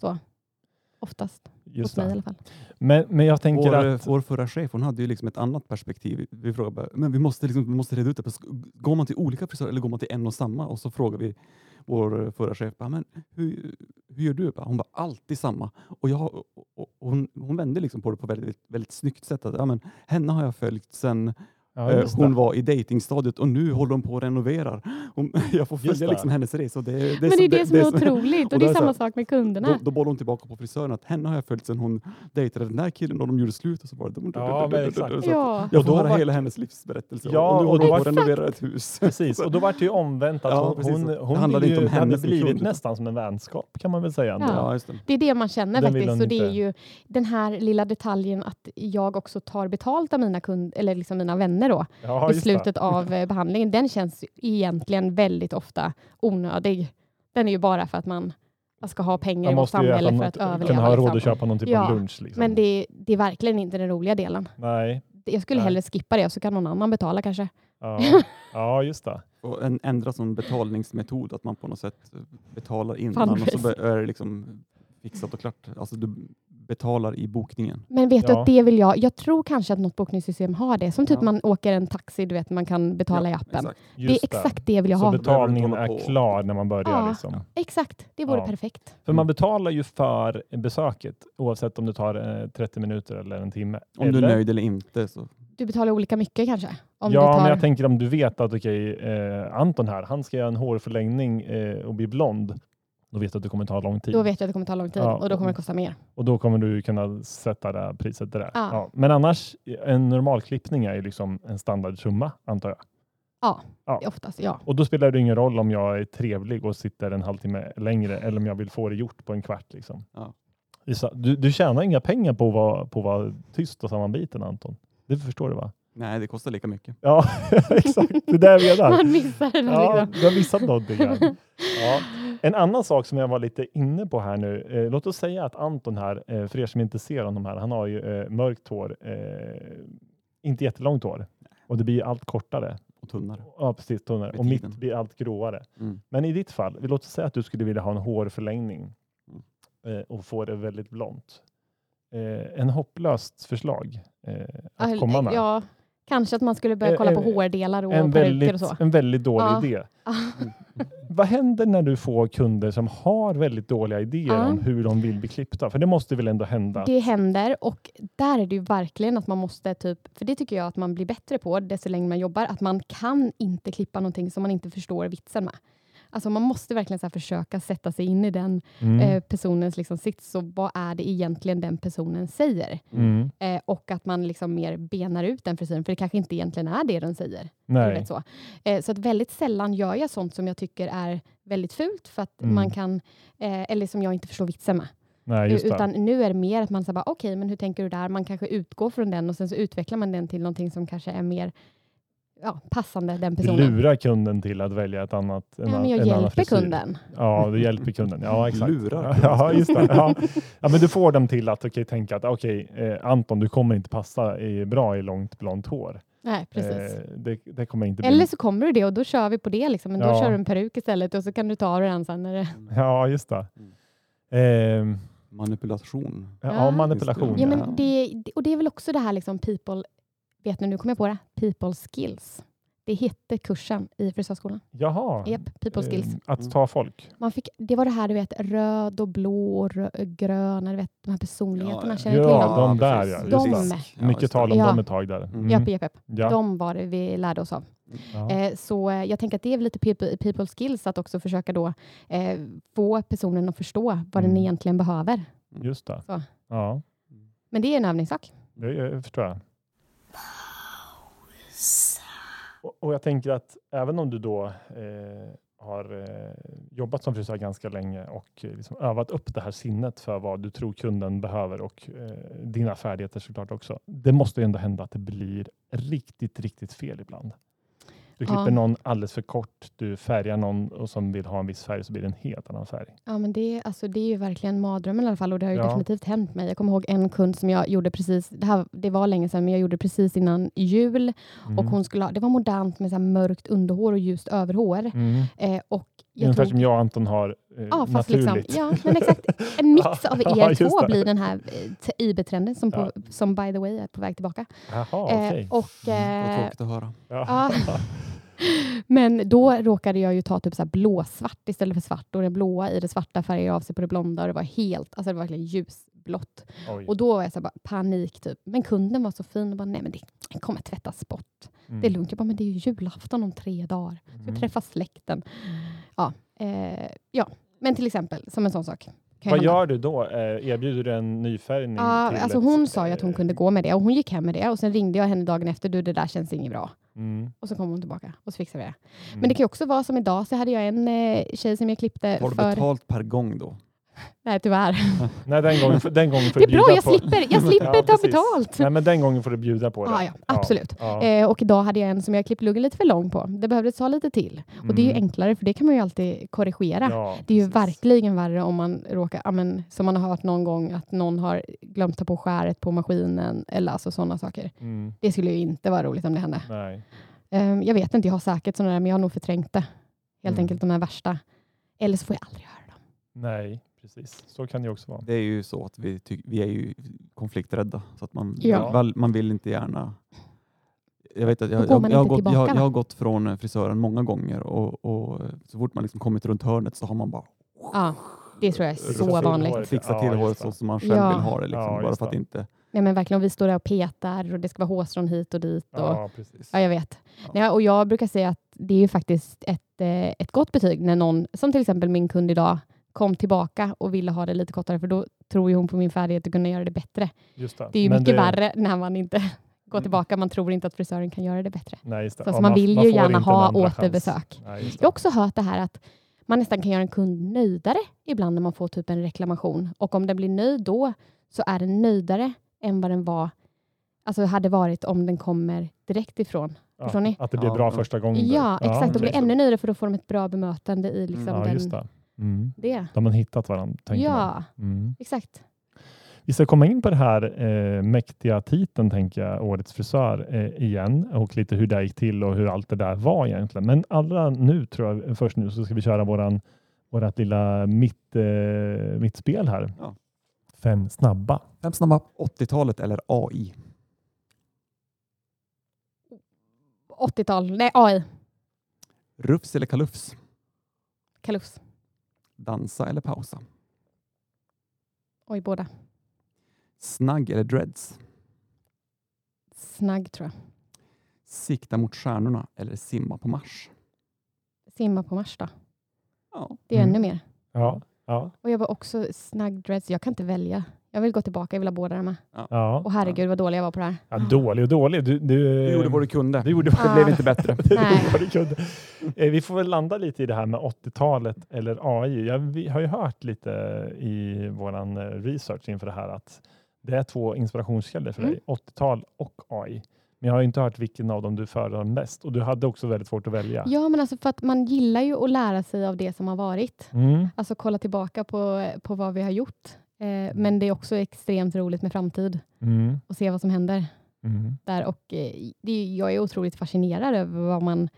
[SPEAKER 3] oftast.
[SPEAKER 1] just
[SPEAKER 3] hos mig i
[SPEAKER 1] det.
[SPEAKER 3] alla fall.
[SPEAKER 1] Men, men jag tänker
[SPEAKER 2] Vår, eh,
[SPEAKER 1] att...
[SPEAKER 2] vår förra chef hon hade ju liksom ett annat perspektiv. Vi frågade bara, men vi måste, liksom, vi måste reda ut det. Går man till olika frisörer eller går man till en och samma? Och så frågade vi vår förra chef, bara, men hur, hur gör du? Bara, Hon var alltid samma. Och jag, och, och, hon, hon vände liksom på det på ett väldigt, väldigt snyggt sätt. Att, ja, men, henne har jag följt sedan
[SPEAKER 1] Ja,
[SPEAKER 2] Eh,
[SPEAKER 1] just det.
[SPEAKER 2] hon var i datingstadiet och nu håller hon på och renoverar. Hon, jag får
[SPEAKER 1] Just det.
[SPEAKER 2] följa liksom hennes resa. och Det, det,
[SPEAKER 3] Men det är det som är otroligt.
[SPEAKER 2] och
[SPEAKER 3] Och
[SPEAKER 2] då
[SPEAKER 3] det är
[SPEAKER 2] är så
[SPEAKER 3] samma
[SPEAKER 2] här-
[SPEAKER 3] sak med kunderna.
[SPEAKER 2] Då, då bollar hon tillbaka på frisören att henne har jag följt sedan hon dejtade den där killen och de gjorde slut. Och så bara,
[SPEAKER 1] Ja, men exakt.
[SPEAKER 2] Så att
[SPEAKER 3] ja.
[SPEAKER 2] Jag
[SPEAKER 1] Och då
[SPEAKER 2] får höra
[SPEAKER 1] var-
[SPEAKER 2] hela hennes livsberättelse.
[SPEAKER 1] Ja,
[SPEAKER 2] och nu
[SPEAKER 1] och
[SPEAKER 2] håller
[SPEAKER 1] då
[SPEAKER 2] hon på att
[SPEAKER 1] var-
[SPEAKER 2] renovera ett hus.
[SPEAKER 1] Precis, och då var det ju omvänt att
[SPEAKER 2] Ja,
[SPEAKER 1] hon,
[SPEAKER 2] precis.
[SPEAKER 1] hon,
[SPEAKER 2] Det
[SPEAKER 1] hon
[SPEAKER 2] handlade
[SPEAKER 1] ville ju,
[SPEAKER 2] inte om
[SPEAKER 1] det hade
[SPEAKER 2] henne som
[SPEAKER 1] blivit
[SPEAKER 2] kund.
[SPEAKER 1] nästan som en vänskap kan man väl säga. Ändå.
[SPEAKER 3] Ja.
[SPEAKER 2] Ja, just det.
[SPEAKER 3] Det är det man känner
[SPEAKER 1] Den vill
[SPEAKER 3] faktiskt.
[SPEAKER 1] hon
[SPEAKER 3] Och det är
[SPEAKER 1] inte.
[SPEAKER 3] ju den här lilla detaljen att jag också tar betalt av mina, kund, eller liksom mina vänner då,
[SPEAKER 1] Ja,
[SPEAKER 3] i
[SPEAKER 1] just det.
[SPEAKER 3] slutet av eh, behandlingen. Den känns egentligen väldigt ofta onödig. Den är ju bara för att man man ska ha pengar
[SPEAKER 1] Man
[SPEAKER 3] i vårt
[SPEAKER 1] måste ju äta
[SPEAKER 3] samhälle för
[SPEAKER 1] något,
[SPEAKER 3] att
[SPEAKER 1] kunna
[SPEAKER 3] överleva.
[SPEAKER 1] ha råd
[SPEAKER 3] liksom.
[SPEAKER 1] att köpa någon typ
[SPEAKER 3] Ja,
[SPEAKER 1] av lunch. Liksom.
[SPEAKER 3] Men det, det är verkligen inte den roliga delen.
[SPEAKER 1] Nej.
[SPEAKER 3] Jag skulle
[SPEAKER 1] Nej.
[SPEAKER 3] hellre skippa det och så kan någon annan betala kanske.
[SPEAKER 1] Ja. ja, just det.
[SPEAKER 2] Och en, ändra sån betalningsmetod, att man på något sätt eh, betalar innan och så
[SPEAKER 3] Fundraise.
[SPEAKER 2] be- är det liksom fixat och klart. Alltså du betalar i bokningen.
[SPEAKER 3] Men vet du
[SPEAKER 1] Ja.
[SPEAKER 3] att det vill jag? Jag tror kanske att något bokningssystem har det. Som typ
[SPEAKER 2] Ja.
[SPEAKER 3] man åker en taxi, du vet, man kan betala i appen.
[SPEAKER 2] Exakt.
[SPEAKER 3] Det är
[SPEAKER 1] Just
[SPEAKER 3] exakt det vill jag
[SPEAKER 1] Så
[SPEAKER 3] ha.
[SPEAKER 1] betalningen
[SPEAKER 2] Behöver inte hålla
[SPEAKER 1] är
[SPEAKER 2] på.
[SPEAKER 1] klar när man börjar.
[SPEAKER 3] Ja.
[SPEAKER 1] Liksom.
[SPEAKER 3] Exakt, det vore
[SPEAKER 1] Ja.
[SPEAKER 3] perfekt.
[SPEAKER 1] För
[SPEAKER 2] Mm.
[SPEAKER 1] man betalar ju för besöket oavsett om det tar eh, 30 minuter eller en timme.
[SPEAKER 2] Om
[SPEAKER 1] eller,
[SPEAKER 2] du är nöjd eller inte. Så.
[SPEAKER 3] Du betalar olika mycket kanske? Om
[SPEAKER 1] ja,
[SPEAKER 3] du tar...
[SPEAKER 1] men jag tänker om du vet att okej, eh, Anton här, han ska göra en hårförlängning eh, och bli blond. Då vet du att det kommer ta lång tid.
[SPEAKER 3] Då vet jag att det kommer ta lång tid
[SPEAKER 1] typ- Ja.
[SPEAKER 3] och då kommer det kosta mer.
[SPEAKER 1] Och då kommer du kunna sätta det här priset där.
[SPEAKER 3] Ja.
[SPEAKER 1] Ja. Men annars, en normal klippning är ju liksom en standardsumma antar jag. Ja.
[SPEAKER 3] Oftast, ja.
[SPEAKER 1] Och då spelar det ingen roll om jag är trevlig och sitter en halvtimme längre eller om jag vill få det gjort på en kvart. Liksom.
[SPEAKER 2] Ja.
[SPEAKER 1] Det är så- Du, du tjänar inga pengar på att vara, på att vara tyst och sammanbiten Anton. Det förstår du va?
[SPEAKER 2] Nej, det kostar lika mycket.
[SPEAKER 1] Ja, exakt. Det är det jag menar.
[SPEAKER 3] Man missar den här
[SPEAKER 1] Ja,
[SPEAKER 3] liksom.
[SPEAKER 1] du har missat någonting här. Ja. En annan sak som jag var lite inne på här nu. Eh, låt oss säga att Anton här, eh, för er som inte ser honom här, han har ju eh, mörkt hår, eh, inte jättelångt hår. Och det blir allt kortare.
[SPEAKER 2] Och tunnare.
[SPEAKER 1] Ja, precis, tunnare.
[SPEAKER 2] Med
[SPEAKER 1] Och mitt
[SPEAKER 2] tiden.
[SPEAKER 1] blir allt gråare.
[SPEAKER 2] Mm.
[SPEAKER 1] Men i ditt fall, vi låter säga att du skulle vilja ha en hårförlängning eh, och få det väldigt blont. Eh, en hopplöst förslag eh, att komma med.
[SPEAKER 3] Ja, kanske att man skulle börja
[SPEAKER 1] Eh,
[SPEAKER 3] kolla på
[SPEAKER 1] eh,
[SPEAKER 3] hårdelar och
[SPEAKER 1] en
[SPEAKER 3] peruker och
[SPEAKER 1] väldigt,
[SPEAKER 3] så.
[SPEAKER 1] en väldigt dålig
[SPEAKER 3] Ja.
[SPEAKER 1] idé. Vad händer när du får kunder som har väldigt dåliga idéer
[SPEAKER 3] Ja.
[SPEAKER 1] om hur de vill bli klippta? För det måste väl ändå hända?
[SPEAKER 3] Det händer och där är det ju verkligen att man måste, typ, för det tycker jag att man blir bättre på desto längre man jobbar, att man kan inte klippa någonting som man inte förstår vitsen med. Alltså man måste verkligen så här försöka sätta sig in i den
[SPEAKER 1] Mm.
[SPEAKER 3] eh, personens liksom sits. Så vad är det egentligen den personen säger?
[SPEAKER 1] Mm.
[SPEAKER 3] Eh, och att man liksom mer benar ut den frisyren, för det kanske inte egentligen är det den säger. Du
[SPEAKER 1] Nej.
[SPEAKER 3] vet så. Eh, så att väldigt sällan gör jag sånt som jag tycker är väldigt fult, för att
[SPEAKER 1] Mm.
[SPEAKER 3] man kan, eh, eller som jag inte förstår vitsen med.
[SPEAKER 1] Nej, just det.
[SPEAKER 3] Utan nu är det mer att man säger, okej, men hur tänker du där? Man kanske utgår från den och sen så utvecklar man den till någonting som kanske är mer ja, passande den
[SPEAKER 1] Du
[SPEAKER 3] personen.
[SPEAKER 1] lurar kunden till att välja ett annat. En,
[SPEAKER 3] ja, men
[SPEAKER 1] an-
[SPEAKER 3] jag
[SPEAKER 1] en annan
[SPEAKER 3] hjälper
[SPEAKER 1] frisyr.
[SPEAKER 3] kunden.
[SPEAKER 1] Ja, du hjälper kunden. Ja, exakt.
[SPEAKER 2] Lurar.
[SPEAKER 1] Ja, just det. Ja. ja, men du får dem till att okay, tänka att okej, eh, Anton, du kommer inte passa i, bra i långt blont hår.
[SPEAKER 3] Nej, precis.
[SPEAKER 1] Eh, det, det kommer inte bli.
[SPEAKER 3] Eller så kommer du det och då kör vi på det, liksom. men då
[SPEAKER 1] Ja.
[SPEAKER 3] kör du en peruk istället och så kan du ta av dig den sen. När det...
[SPEAKER 1] Ja, just det. Ehm,
[SPEAKER 2] Manipulation.
[SPEAKER 1] ja,
[SPEAKER 3] Ja.
[SPEAKER 1] manipulation.
[SPEAKER 3] Ja,
[SPEAKER 1] Ja,
[SPEAKER 3] men det, och det är väl också det här liksom people, vet ni, nu kommer jag på det, people skills. Det hette kursen i frisörskolan.
[SPEAKER 1] Jaha.
[SPEAKER 3] Yep, people skills.
[SPEAKER 1] Ehm, att ta folk.
[SPEAKER 2] Mm.
[SPEAKER 3] Man fick, det var det här du vet, röd och blå och rö- grön, du vet, de här personligheterna.
[SPEAKER 2] Ja,
[SPEAKER 3] Känner ni till
[SPEAKER 1] Ja, de
[SPEAKER 3] dem?
[SPEAKER 1] där,
[SPEAKER 2] precis.
[SPEAKER 1] ja,
[SPEAKER 3] just det.
[SPEAKER 2] Risk. Ja,
[SPEAKER 1] Mycket
[SPEAKER 2] just det.
[SPEAKER 1] tal om
[SPEAKER 3] Ja.
[SPEAKER 1] dem ett tag där.
[SPEAKER 2] Mm.
[SPEAKER 3] Japp, japp, japp.
[SPEAKER 1] Ja.
[SPEAKER 3] De var det vi lärde oss av.
[SPEAKER 1] Ja.
[SPEAKER 3] Eh, så eh, jag tänker att det är väl lite people, people skills att också försöka då eh, få personen att förstå vad den
[SPEAKER 1] Mm.
[SPEAKER 3] egentligen behöver.
[SPEAKER 1] Just det.
[SPEAKER 3] Så.
[SPEAKER 1] Ja,
[SPEAKER 3] Men det är en övningssak.
[SPEAKER 1] det eh, förstår jag. Och, och jag tänker att även om du då eh, har eh, jobbat som frisör ganska länge och eh, liksom övat upp det här sinnet för vad du tror kunden behöver och eh, dina färdigheter såklart också. Det måste ju ändå hända att det blir riktigt, riktigt fel ibland. Du
[SPEAKER 3] Ja.
[SPEAKER 1] klipper någon alldeles för kort, du färgar någon och som vill ha en viss färg så blir det en helt annan färg.
[SPEAKER 3] Ja, men det, alltså, det är ju verkligen mardrömmen i alla fall och det har ju
[SPEAKER 1] Ja.
[SPEAKER 3] definitivt hänt mig. Jag kommer ihåg en kund som jag gjorde precis, det, här, det var länge sedan, men jag gjorde precis innan jul och
[SPEAKER 1] Mm.
[SPEAKER 3] hon skulle ha, det var modernt med så här mörkt underhår och ljust överhår.
[SPEAKER 1] Mm.
[SPEAKER 3] Eh, och jag
[SPEAKER 1] Ungefär
[SPEAKER 3] tog,
[SPEAKER 1] som jag och Anton har eh,
[SPEAKER 3] ja, fast liksom,
[SPEAKER 1] naturligt.
[SPEAKER 3] ja, men exakt. En mix
[SPEAKER 1] Ja,
[SPEAKER 3] av
[SPEAKER 1] ja,
[SPEAKER 3] er
[SPEAKER 1] just
[SPEAKER 3] två
[SPEAKER 1] det.
[SPEAKER 3] blir den här eh, t- IB-trenden som, på, som by the way är på väg tillbaka.
[SPEAKER 1] Jaha,
[SPEAKER 3] Eh,
[SPEAKER 1] okej.
[SPEAKER 3] och,
[SPEAKER 2] Mm, vad
[SPEAKER 3] eh,
[SPEAKER 2] tråkigt att höra.
[SPEAKER 1] Ja.
[SPEAKER 3] men då råkade jag ju ta typ så här blåsvart istället för svart och den blåa i det svarta färgade av sig på det blonda och det var helt, alltså det var verkligen ljusblått.
[SPEAKER 1] Oj.
[SPEAKER 3] Och då var jag så här bara panik, typ. men kunden var så fin och bara, nej men det kommer tvättas bort. Det är
[SPEAKER 1] Mm.
[SPEAKER 3] lugnt. Jag bara, men det är ju julafton om tre dagar. Vi träffar släkten. Ja, eh, ja, men till exempel, som en sån sak. Kan ju
[SPEAKER 1] Vad
[SPEAKER 3] hända.
[SPEAKER 1] gör du då? Eh, erbjuder du en nyfärgning?
[SPEAKER 3] Ja,
[SPEAKER 1] till
[SPEAKER 3] alltså
[SPEAKER 1] ett,
[SPEAKER 3] hon sa ju att hon
[SPEAKER 1] eh,
[SPEAKER 3] kunde gå med det och hon gick hem med det och sen ringde jag henne dagen efter. Du, det där känns inget bra.
[SPEAKER 1] Mm,
[SPEAKER 3] Och så kom hon tillbaka och så fixade vi det.
[SPEAKER 1] mm.
[SPEAKER 3] Men det kan ju också vara som idag så hade jag en eh, tjej som jag klippte
[SPEAKER 2] Har du
[SPEAKER 3] för...
[SPEAKER 2] betalt per gång då?
[SPEAKER 3] Nej, tyvärr.
[SPEAKER 1] Nej, den gången, får- den gången får
[SPEAKER 3] Det
[SPEAKER 1] du
[SPEAKER 3] är bra,
[SPEAKER 1] bjuda
[SPEAKER 3] jag
[SPEAKER 1] på.
[SPEAKER 3] slipper, jag slipper ta
[SPEAKER 1] precis.
[SPEAKER 3] betalt.
[SPEAKER 1] Nej, men den gången får du bjuda på det.
[SPEAKER 3] Ja, ja, absolut.
[SPEAKER 1] Ja,
[SPEAKER 3] Eh, och idag hade jag en som jag klippt luggen lite för lång på. Det behövdes ta lite till. Eh, Och det är ju
[SPEAKER 1] Mm.
[SPEAKER 3] enklare för det kan man ju alltid korrigera.
[SPEAKER 1] ja,
[SPEAKER 3] Det är ju
[SPEAKER 1] precis.
[SPEAKER 3] verkligen värre om man råkar, ja, men, som man har hört någon gång, att någon har glömt ta på skäret på maskinen eller alltså sådana saker.
[SPEAKER 1] Mm,
[SPEAKER 3] Det skulle ju inte vara roligt om det hände.
[SPEAKER 1] nej.
[SPEAKER 3] Ehm, jag vet inte, jag har säkert sådana där, men jag har nog förträngt det. Helt
[SPEAKER 1] Mm.
[SPEAKER 3] enkelt de här värsta. Eller så får jag aldrig höra dem.
[SPEAKER 1] nej, precis. Så kan det också vara.
[SPEAKER 2] Det är ju så att vi, ty- vi är ju konflikträdda. Så att man,
[SPEAKER 3] Ja.
[SPEAKER 2] väl, man vill inte gärna... Jag, vet att
[SPEAKER 3] Då
[SPEAKER 2] jag,
[SPEAKER 3] går
[SPEAKER 2] jag,
[SPEAKER 3] man
[SPEAKER 2] jag, har
[SPEAKER 3] inte
[SPEAKER 2] gått, jag,
[SPEAKER 3] tillbaka,
[SPEAKER 2] jag
[SPEAKER 3] va?
[SPEAKER 2] har gått från eh, frisören många gånger och, och så fort man liksom kommit runt hörnet så har man bara
[SPEAKER 3] Ja, det tror jag är
[SPEAKER 1] Rufsa
[SPEAKER 3] så
[SPEAKER 1] till
[SPEAKER 3] vanligt.
[SPEAKER 1] håret.
[SPEAKER 2] fixat till
[SPEAKER 1] Ja,
[SPEAKER 2] håret
[SPEAKER 1] just
[SPEAKER 2] så
[SPEAKER 1] det.
[SPEAKER 2] som man själv
[SPEAKER 3] Ja.
[SPEAKER 2] vill ha det. Liksom,
[SPEAKER 1] Ja,
[SPEAKER 2] bara
[SPEAKER 1] just
[SPEAKER 2] för att
[SPEAKER 1] det.
[SPEAKER 2] inte...
[SPEAKER 3] Nej, men verkligen, och vi står där och petar och det ska vara hårstrån hit och dit. Och, ja.
[SPEAKER 1] Ja, precis.
[SPEAKER 3] jag vet.
[SPEAKER 2] Ja.
[SPEAKER 3] Nej, och jag brukar säga att det är ju faktiskt ett, eh, ett gott betyg när någon, som till exempel min kund idag, kom tillbaka och ville ha det lite kortare, för då tror ju hon på min färdighet att kunna göra det bättre.
[SPEAKER 1] Just
[SPEAKER 3] Det är ju
[SPEAKER 1] Men
[SPEAKER 3] mycket
[SPEAKER 1] det-
[SPEAKER 3] värre när man inte går
[SPEAKER 2] Mm.
[SPEAKER 3] tillbaka. Man tror inte att frisören kan göra det bättre.
[SPEAKER 1] Nej, just det.
[SPEAKER 3] Så,
[SPEAKER 1] Ja,
[SPEAKER 3] så man, vill ju
[SPEAKER 1] får
[SPEAKER 3] gärna
[SPEAKER 1] inte en
[SPEAKER 3] ha
[SPEAKER 1] andra chans.
[SPEAKER 3] återbesök.
[SPEAKER 1] Nej, just
[SPEAKER 3] Jag
[SPEAKER 1] det.
[SPEAKER 3] har också hört det här att man nästan kan göra en kund nöjdare ibland när man får typ en reklamation. Och om den blir nöjd då så är den nöjdare än vad den var, alltså hade varit om den kommer direkt ifrån.
[SPEAKER 1] Ja,
[SPEAKER 3] förstår ni?
[SPEAKER 1] Att det blir
[SPEAKER 2] Ja,
[SPEAKER 1] bra
[SPEAKER 2] ja.
[SPEAKER 1] första gången. då.
[SPEAKER 3] Ja, exakt. Då blir det
[SPEAKER 1] okej.
[SPEAKER 3] ännu nöjdare för då får de ett bra bemötande i liksom
[SPEAKER 1] Ja,
[SPEAKER 3] den,
[SPEAKER 1] just det. Mm.
[SPEAKER 3] det.
[SPEAKER 1] Då har man hittat varandra, tänker man.
[SPEAKER 3] Ja,
[SPEAKER 1] Mm.
[SPEAKER 3] exakt.
[SPEAKER 1] Vi ska komma in på det här eh, mäktiga titeln, tänker jag, Årets frisör eh, igen och lite hur det här gick till och hur allt det där var egentligen. Men allra nu, tror jag, först nu så ska vi köra våran, vårat lilla mitt, eh, mittspel här.
[SPEAKER 2] Ja.
[SPEAKER 1] Fem snabba.
[SPEAKER 2] Fem snabba. 80-talet eller AI?
[SPEAKER 3] 80-tal. Nej, AI.
[SPEAKER 2] Rufs eller kalufs?
[SPEAKER 3] Kalufs.
[SPEAKER 2] Dansa eller pausa?
[SPEAKER 3] Oj, båda.
[SPEAKER 2] Snagg eller dreads?
[SPEAKER 3] Snagg tror jag.
[SPEAKER 2] Sikta mot stjärnorna eller simma på Mars?
[SPEAKER 3] Simma på Mars då.
[SPEAKER 2] Ja.
[SPEAKER 3] Det är
[SPEAKER 1] Mm.
[SPEAKER 3] ännu mer.
[SPEAKER 1] Ja. Ja.
[SPEAKER 3] Och jag var också snagg dreads. Jag kan inte välja. Jag vill gå tillbaka. Jag vill ha båda de här.
[SPEAKER 1] Ja.
[SPEAKER 3] Och herregud vad dålig jag var på det här.
[SPEAKER 1] ja. Dålig och dålig. Du, du,
[SPEAKER 2] Du gjorde vad du kunde.
[SPEAKER 1] Du gjorde
[SPEAKER 3] Det blev inte
[SPEAKER 1] bättre. det
[SPEAKER 3] Ah. Nej.
[SPEAKER 1] var det kunde. Eh, Vi får väl landa lite i det här med 80-talet eller AI. Jag, vi har ju hört lite i vår research inför det här att det är två inspirationskällor för dig,
[SPEAKER 3] Mm.
[SPEAKER 1] 80-tal och AI. Men jag har ju inte hört vilken av dem du föredrar mest och du hade också väldigt svårt att välja.
[SPEAKER 3] Ja, men alltså för att man gillar ju att lära sig av det som har varit.
[SPEAKER 1] Mm.
[SPEAKER 3] Alltså kolla tillbaka på, på vad vi har gjort. Eh, men det är också extremt roligt med framtid
[SPEAKER 1] Mm.
[SPEAKER 3] och se vad som händer
[SPEAKER 1] Mm.
[SPEAKER 3] där. Och, eh, det, är- jag är otroligt fascinerad över vad man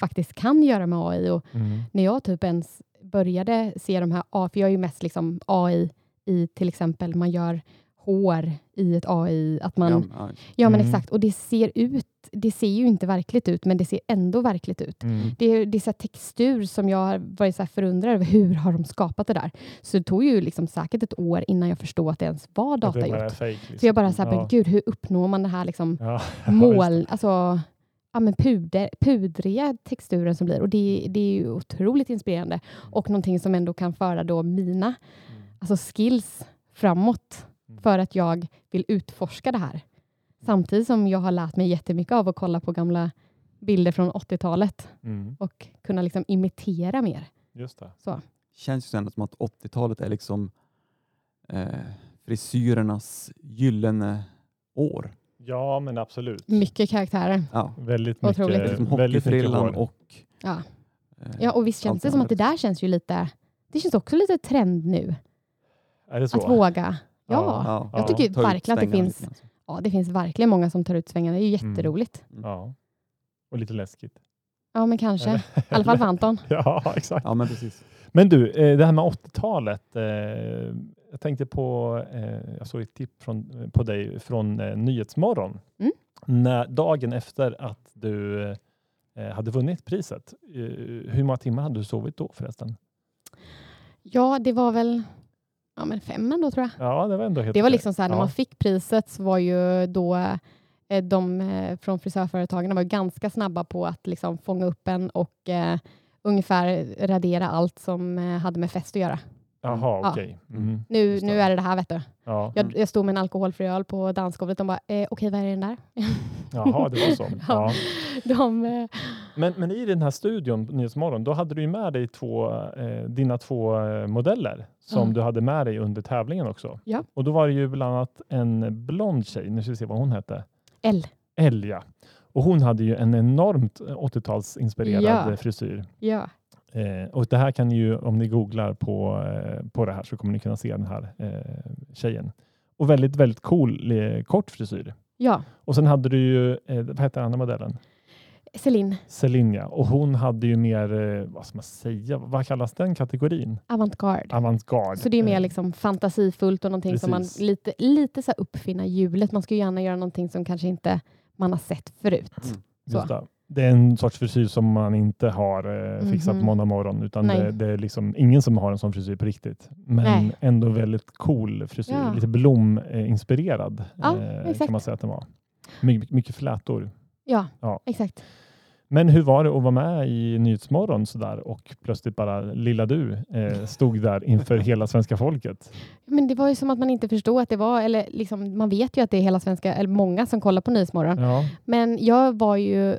[SPEAKER 3] faktiskt kan göra med AI. Och
[SPEAKER 1] Mm.
[SPEAKER 3] när jag typ ens började se de här, A- för jag är ju mest liksom AI i till exempel man gör hår i ett AI, att man
[SPEAKER 2] Ja, ja.
[SPEAKER 3] Ja, men
[SPEAKER 1] Mm.
[SPEAKER 3] exakt. Och det ser ut, det ser ju inte verkligt ut, men det ser ändå verkligt ut.
[SPEAKER 1] Mm.
[SPEAKER 3] Det är, det är så här textur som jag har varit så här förundrad över. Hur har de skapat det där? Så det tog ju liksom säkert ett år innan jag förstod att det ens var
[SPEAKER 1] Att det
[SPEAKER 3] data
[SPEAKER 1] bara är
[SPEAKER 3] gjort.
[SPEAKER 1] fake, liksom.
[SPEAKER 3] Så jag bara så här, men
[SPEAKER 1] Ja.
[SPEAKER 3] gud, hur uppnår man det här liksom
[SPEAKER 1] Ja, just
[SPEAKER 3] mål, alltså ja, men puder, pudriga texturen som blir. Och det, det är ju otroligt inspirerande och någonting som ändå kan föra då mina
[SPEAKER 1] Mm.
[SPEAKER 3] alltså skills framåt
[SPEAKER 1] Mm.
[SPEAKER 3] för att jag vill utforska det här. Samtidigt som jag har lärt mig jättemycket av att kolla på gamla bilder från 80-talet
[SPEAKER 1] Mm.
[SPEAKER 3] och kunna liksom imitera mer.
[SPEAKER 1] Just det.
[SPEAKER 2] känns ju så ändå som att 80-talet är liksom eh, frisyrernas gyllene år.
[SPEAKER 1] Ja, men absolut.
[SPEAKER 3] Mycket karaktärer.
[SPEAKER 2] Ja.
[SPEAKER 1] Väldigt mycket,
[SPEAKER 3] Otroligt.
[SPEAKER 2] Det är liksom
[SPEAKER 1] Eh, väldigt mycket
[SPEAKER 2] hockeyfrillan
[SPEAKER 1] hår.
[SPEAKER 2] och...
[SPEAKER 3] Ja.
[SPEAKER 2] eh,
[SPEAKER 3] Ja, och visst känns det som att det där känns ju lite, det känns också lite trend nu.
[SPEAKER 1] Är det så?
[SPEAKER 3] Att våga. Ja,
[SPEAKER 2] ja,
[SPEAKER 1] jag tycker
[SPEAKER 3] ju
[SPEAKER 2] ta ut
[SPEAKER 3] verkligen att det
[SPEAKER 2] svängarna
[SPEAKER 3] finns-
[SPEAKER 2] lite grann så.
[SPEAKER 3] ja, det finns verkligen många som tar ut svängarna. Det är ju
[SPEAKER 1] Mm.
[SPEAKER 3] jätteroligt.
[SPEAKER 1] Ja. Och lite läskigt.
[SPEAKER 3] Ja, men kanske. I alla fall för Anton.
[SPEAKER 1] Ja, exakt.
[SPEAKER 2] Ja, men precis.
[SPEAKER 1] Men du, eh, det här med 80-talet. eh, Jag tänkte på, eh, jag såg ett tipp från, på dig från eh, Nyhetsmorgon.
[SPEAKER 3] Mm.
[SPEAKER 1] När, dagen efter att du eh, hade vunnit priset. Eh, Hur många timmar hade du sovit då förresten?
[SPEAKER 3] Ja, det var väl ja, men fem ändå tror jag.
[SPEAKER 1] Ja, det var ändå helt
[SPEAKER 3] Det var
[SPEAKER 1] okej.
[SPEAKER 3] liksom så här, när
[SPEAKER 1] Ja.
[SPEAKER 3] man fick priset så var ju då eh, de eh, från frisörföretagen var ganska snabba på att liksom fånga upp en och eh, ungefär radera allt som eh, hade med fest att göra.
[SPEAKER 1] Jaha,
[SPEAKER 3] Ja.
[SPEAKER 1] okej. Mm.
[SPEAKER 3] Nu,
[SPEAKER 1] Just
[SPEAKER 3] nu
[SPEAKER 1] det.
[SPEAKER 3] är det det här vet du.
[SPEAKER 1] Ja.
[SPEAKER 3] Jag,
[SPEAKER 2] Mm.
[SPEAKER 3] jag stod med en alkoholfri öl på dansgolvet. De bara, eh, okej vad är det den där?
[SPEAKER 1] Jaha, det var så. Ja.
[SPEAKER 3] Ja. De, eh,
[SPEAKER 1] Men, men i den här studion, Nyhetsmorgon, då hade du ju med dig två, eh, dina två eh, modeller som
[SPEAKER 3] Ja.
[SPEAKER 1] du hade med dig under tävlingen också.
[SPEAKER 3] Mm. Ja.
[SPEAKER 1] Och då var det ju bland annat en blond tjej, nu ska vi se vad hon hette,
[SPEAKER 3] L.
[SPEAKER 1] Elja. Och hon hade ju en enormt eh, 80-talsinspirerad
[SPEAKER 3] Ja.
[SPEAKER 1] eh, frisyr.
[SPEAKER 3] Ja.
[SPEAKER 1] Eh, och det här kan ni ju, om ni googlar på, eh, på det här så kommer ni kunna se den här eh, tjejen. Och väldigt, väldigt cool eh, kort frisyr.
[SPEAKER 3] ja.
[SPEAKER 1] Och sen hade du ju, eh, vad hette den andra modellen?
[SPEAKER 3] Celine,
[SPEAKER 1] Selinja. Och hon hade ju mer, eh, vad ska man säga, vad kallas den kategorin?
[SPEAKER 3] avantgarde.
[SPEAKER 1] Avantgarde.
[SPEAKER 3] Så det är mer
[SPEAKER 1] Eh,
[SPEAKER 3] liksom fantasifullt och någonting som man
[SPEAKER 1] Precis.
[SPEAKER 3] lite, lite så här uppfinna hjulet. Man ska ju gärna göra någonting som kanske inte man har sett förut.
[SPEAKER 1] Mm. just
[SPEAKER 3] så.
[SPEAKER 1] det. Det är en sorts frisyr som man inte har eh, fixat
[SPEAKER 3] Mhm.
[SPEAKER 1] på måndag morgon, utan
[SPEAKER 3] Nej.
[SPEAKER 1] det, det är liksom ingen som har en sån frisyr på riktigt. Men
[SPEAKER 3] Nej.
[SPEAKER 1] ändå väldigt cool frisyr,
[SPEAKER 3] Ja.
[SPEAKER 1] lite blominspirerad eh,
[SPEAKER 3] Ja,
[SPEAKER 1] kan
[SPEAKER 3] exakt.
[SPEAKER 1] man säga att den var. My, mycket flätor.
[SPEAKER 3] Ja,
[SPEAKER 1] Ja.
[SPEAKER 3] exakt.
[SPEAKER 1] Men hur var det att vara med i Nyhetsmorgon sådär och plötsligt bara lilla du eh, stod där inför hela svenska folket?
[SPEAKER 3] Men det var ju som att man inte förstod att det var, eller liksom, man vet ju att det är hela svenska, eller många som kollar på Nyhetsmorgon.
[SPEAKER 1] Ja.
[SPEAKER 3] Men jag var ju,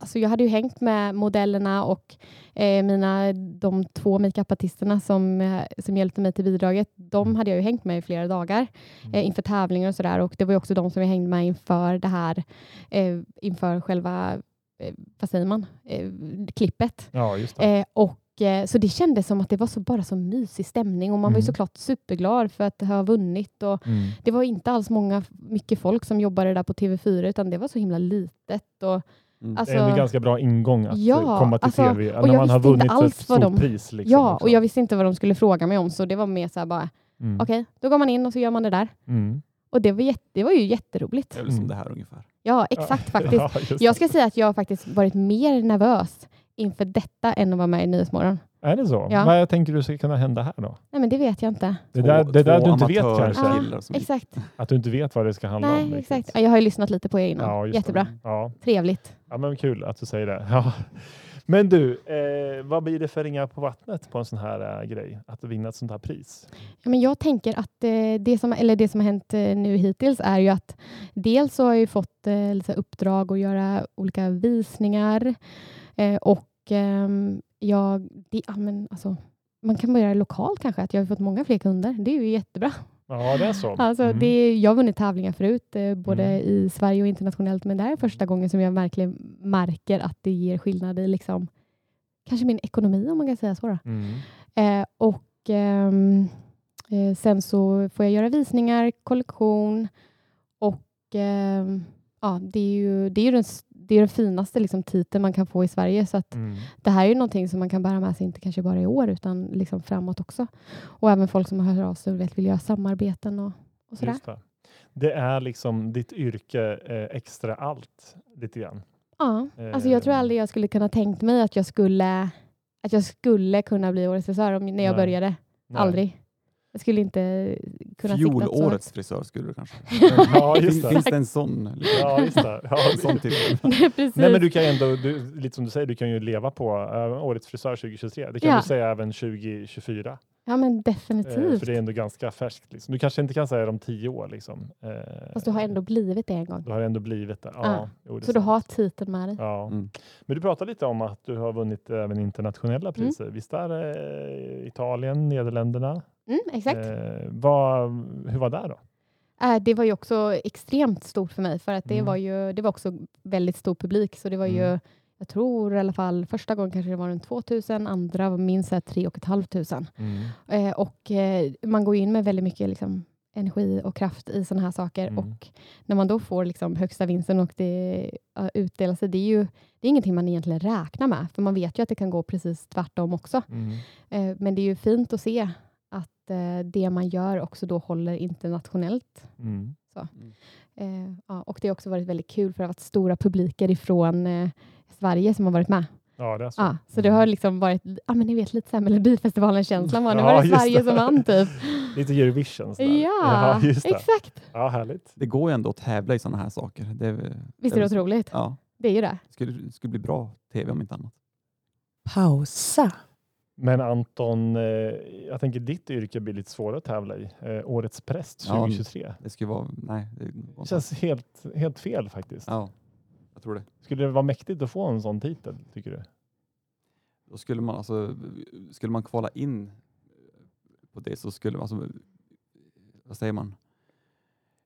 [SPEAKER 3] alltså jag hade ju hängt med modellerna och eh, mina, de två makeupartisterna som, eh, som hjälpte mig till bidraget, de hade jag ju hängt med i flera dagar
[SPEAKER 1] Mm.
[SPEAKER 3] eh, inför tävlingar och sådär. Och det var ju också de som jag hängde med inför det här, eh, inför själva, eh, vad säger man, eh, klippet.
[SPEAKER 1] ja, just det.
[SPEAKER 3] Eh, och, eh, så det kändes som att det var så, bara så mysig stämning och man var ju
[SPEAKER 1] Mm.
[SPEAKER 3] såklart superglad för att ha vunnit. Och,
[SPEAKER 1] Mm.
[SPEAKER 3] det var inte alls många, mycket folk som jobbade där på TV4 utan det var så himla litet. Och,
[SPEAKER 2] Mm.
[SPEAKER 1] Det är en
[SPEAKER 3] alltså,
[SPEAKER 1] ganska bra ingång att
[SPEAKER 3] Ja,
[SPEAKER 1] eh, komma till
[SPEAKER 3] alltså,
[SPEAKER 1] tv
[SPEAKER 3] och
[SPEAKER 1] när
[SPEAKER 3] jag
[SPEAKER 1] man har
[SPEAKER 3] visste inte
[SPEAKER 1] vunnit ett
[SPEAKER 3] alls
[SPEAKER 1] stort
[SPEAKER 3] vad de-
[SPEAKER 1] pris. Liksom,
[SPEAKER 3] ja,
[SPEAKER 1] också.
[SPEAKER 3] och jag visste inte vad de skulle fråga mig om så det var mer så här bara,
[SPEAKER 1] Mm,
[SPEAKER 3] okej, då går man in och så gör man det där.
[SPEAKER 1] mm.
[SPEAKER 3] Och det var, jätte, det var ju
[SPEAKER 2] Det
[SPEAKER 3] jätteroligt.
[SPEAKER 2] är väl som
[SPEAKER 1] Mm.
[SPEAKER 2] det här ungefär.
[SPEAKER 3] Ja, exakt faktiskt.
[SPEAKER 1] Ja, just det.
[SPEAKER 3] Jag ska säga att jag har faktiskt varit mer nervös inför detta än att vara med i Nyhetsmorgon.
[SPEAKER 1] Är det så?
[SPEAKER 3] Ja.
[SPEAKER 1] Vad tänker du ska kunna hända här då?
[SPEAKER 3] Nej, men det vet jag inte.
[SPEAKER 1] Det där,
[SPEAKER 2] Två-
[SPEAKER 1] det där
[SPEAKER 2] två
[SPEAKER 1] du inte vet
[SPEAKER 2] amatörkillar
[SPEAKER 1] kanske?
[SPEAKER 3] Ja.
[SPEAKER 2] som gick.
[SPEAKER 3] Exakt.
[SPEAKER 1] Att du inte vet vad det ska handla om?
[SPEAKER 3] Nej,
[SPEAKER 1] riktigt.
[SPEAKER 3] exakt. Ja, Jag har ju lyssnat lite på er innan.
[SPEAKER 1] Ja, just det.
[SPEAKER 3] Jättebra.
[SPEAKER 1] Ja.
[SPEAKER 3] Trevligt.
[SPEAKER 1] ja, men kul att du säger det. Ja. Men du, eh, vad blir det för ringar på vattnet på en sån här eh, grej? Att vinna ett sånt här pris?
[SPEAKER 3] Ja, men jag tänker att eh, det, som, eller det som har hänt eh, nu hittills är ju att dels så har jag ju fått eh, lite så här uppdrag att göra olika visningar eh, och ehm, jag, det, ja, men alltså, man kan börja lokalt kanske, att jag har fått många fler kunder. Det är ju jättebra.
[SPEAKER 1] Ja, det är så.
[SPEAKER 3] Alltså,
[SPEAKER 1] Mm.
[SPEAKER 3] det, jag har vunnit tävlingar förut, eh, både
[SPEAKER 1] Mm.
[SPEAKER 3] i Sverige och internationellt, men det här är första gången som jag verkligen märker att det ger skillnad i liksom, kanske min ekonomi, om man kan säga så. Då.
[SPEAKER 1] Mm.
[SPEAKER 3] Eh, och ehm, eh, sen så får jag göra visningar, kollektion och ehm, ja, det är ju, det är ju den, s- det är den finaste liksom, titeln man kan få i Sverige. Så att
[SPEAKER 1] Mm.
[SPEAKER 3] det här är ju någonting som man kan bära med sig, inte kanske bara i år utan liksom framåt också. Och även folk som hör av sig och vet, vill göra samarbeten och, och sådär.
[SPEAKER 1] Just det. det är liksom ditt yrke eh, extra allt lite grann.
[SPEAKER 3] Ja,
[SPEAKER 1] Eh,
[SPEAKER 3] alltså jag tror aldrig jag skulle kunna tänkt mig att jag skulle, att jag skulle kunna bli årets frisör om, när jag
[SPEAKER 1] Nej.
[SPEAKER 3] började.
[SPEAKER 1] Nej.
[SPEAKER 3] Aldrig. Jag skulle inte kunna siktat så högt.
[SPEAKER 2] Fjolårets frisör skulle du kanske.
[SPEAKER 1] Ja,
[SPEAKER 2] Fin-
[SPEAKER 1] just det.
[SPEAKER 2] Finns det en sån? Liksom?
[SPEAKER 1] Ja, just det. Ja,
[SPEAKER 2] En sån typ.
[SPEAKER 3] Nej, precis.
[SPEAKER 1] Nej, men du kan ju ändå, du, lite som du säger, du kan ju leva på äh, årets frisör 2023. Det kan
[SPEAKER 3] Ja.
[SPEAKER 1] du säga även 2024.
[SPEAKER 3] Ja, men
[SPEAKER 1] eh,
[SPEAKER 3] definitivt.
[SPEAKER 1] för det är ändå ganska färskt. Liksom. Du kanske inte kan säga det om tio år. Liksom. Eh,
[SPEAKER 3] Fast du har ändå blivit det en gång.
[SPEAKER 1] du har ändå blivit det. Ja,
[SPEAKER 3] Ah.
[SPEAKER 1] jo, det är
[SPEAKER 3] Så du
[SPEAKER 1] sant.
[SPEAKER 3] har titeln med dig.
[SPEAKER 1] Ja.
[SPEAKER 2] Mm.
[SPEAKER 1] Men du pratade lite om att du har vunnit även
[SPEAKER 3] Mm.
[SPEAKER 1] internationella priser. Visst är det Italien, Nederländerna?
[SPEAKER 3] Mm, exakt.
[SPEAKER 1] Eh, vad, hur var det då?
[SPEAKER 3] Äh, det var ju också extremt stort för mig, för att det,
[SPEAKER 1] Eh. Mm.
[SPEAKER 3] var ju, det var också väldigt stor publik. Så det var ju,
[SPEAKER 1] Mm.
[SPEAKER 3] jag tror i alla fall första gången kanske det var runt 2000, andra var minst så här 3 500. Eh, och eh, man går ju in med väldigt mycket liksom, energi och kraft i sådana här saker.
[SPEAKER 1] Mm.
[SPEAKER 3] Och när man då får liksom, högsta vinsten och det ja, utdelar sig, det är ju det är ingenting man egentligen räknar med, för man vet ju att det kan gå precis tvärtom också.
[SPEAKER 1] Mm.
[SPEAKER 3] Eh, men det är ju fint att se att eh, det man gör också då håller internationellt.
[SPEAKER 1] Mm.
[SPEAKER 3] Eh, ja, och det har också varit väldigt kul för det har varit stora publiker ifrån eh, Sverige som har varit med.
[SPEAKER 1] Ja, det är så.
[SPEAKER 3] Ja, så det har liksom varit, ja men ni vet lite så här Melodifestivalen-känslan var, nu
[SPEAKER 1] Mm. Ja,
[SPEAKER 3] var det
[SPEAKER 1] just
[SPEAKER 3] Sverige
[SPEAKER 1] det.
[SPEAKER 3] som vann typ.
[SPEAKER 1] Lite Eurovision.
[SPEAKER 3] Ja,
[SPEAKER 1] sådär. ja just det.
[SPEAKER 3] exakt.
[SPEAKER 1] Ja, härligt.
[SPEAKER 2] Det går ju ändå att tävla i sådana här saker. Det, är-
[SPEAKER 3] Visst är det otroligt?
[SPEAKER 2] ja,
[SPEAKER 3] Det är ju det.
[SPEAKER 2] det skulle, det skulle bli bra tv om inte annat.
[SPEAKER 4] Pausa.
[SPEAKER 1] Men Anton, eh, jag tänker ditt yrke blir lite svårare att tävla i. Eh, årets präst
[SPEAKER 2] Ja.
[SPEAKER 1] 2023.
[SPEAKER 2] Det skulle vara... Nej. Det går
[SPEAKER 1] Det
[SPEAKER 2] inte.
[SPEAKER 1] känns helt, helt fel faktiskt.
[SPEAKER 2] Ja, jag tror det.
[SPEAKER 1] Skulle det vara mäktigt att få en sån titel, tycker du?
[SPEAKER 2] Då skulle man alltså... Skulle man kvala in på det så skulle man... Alltså, vad säger man?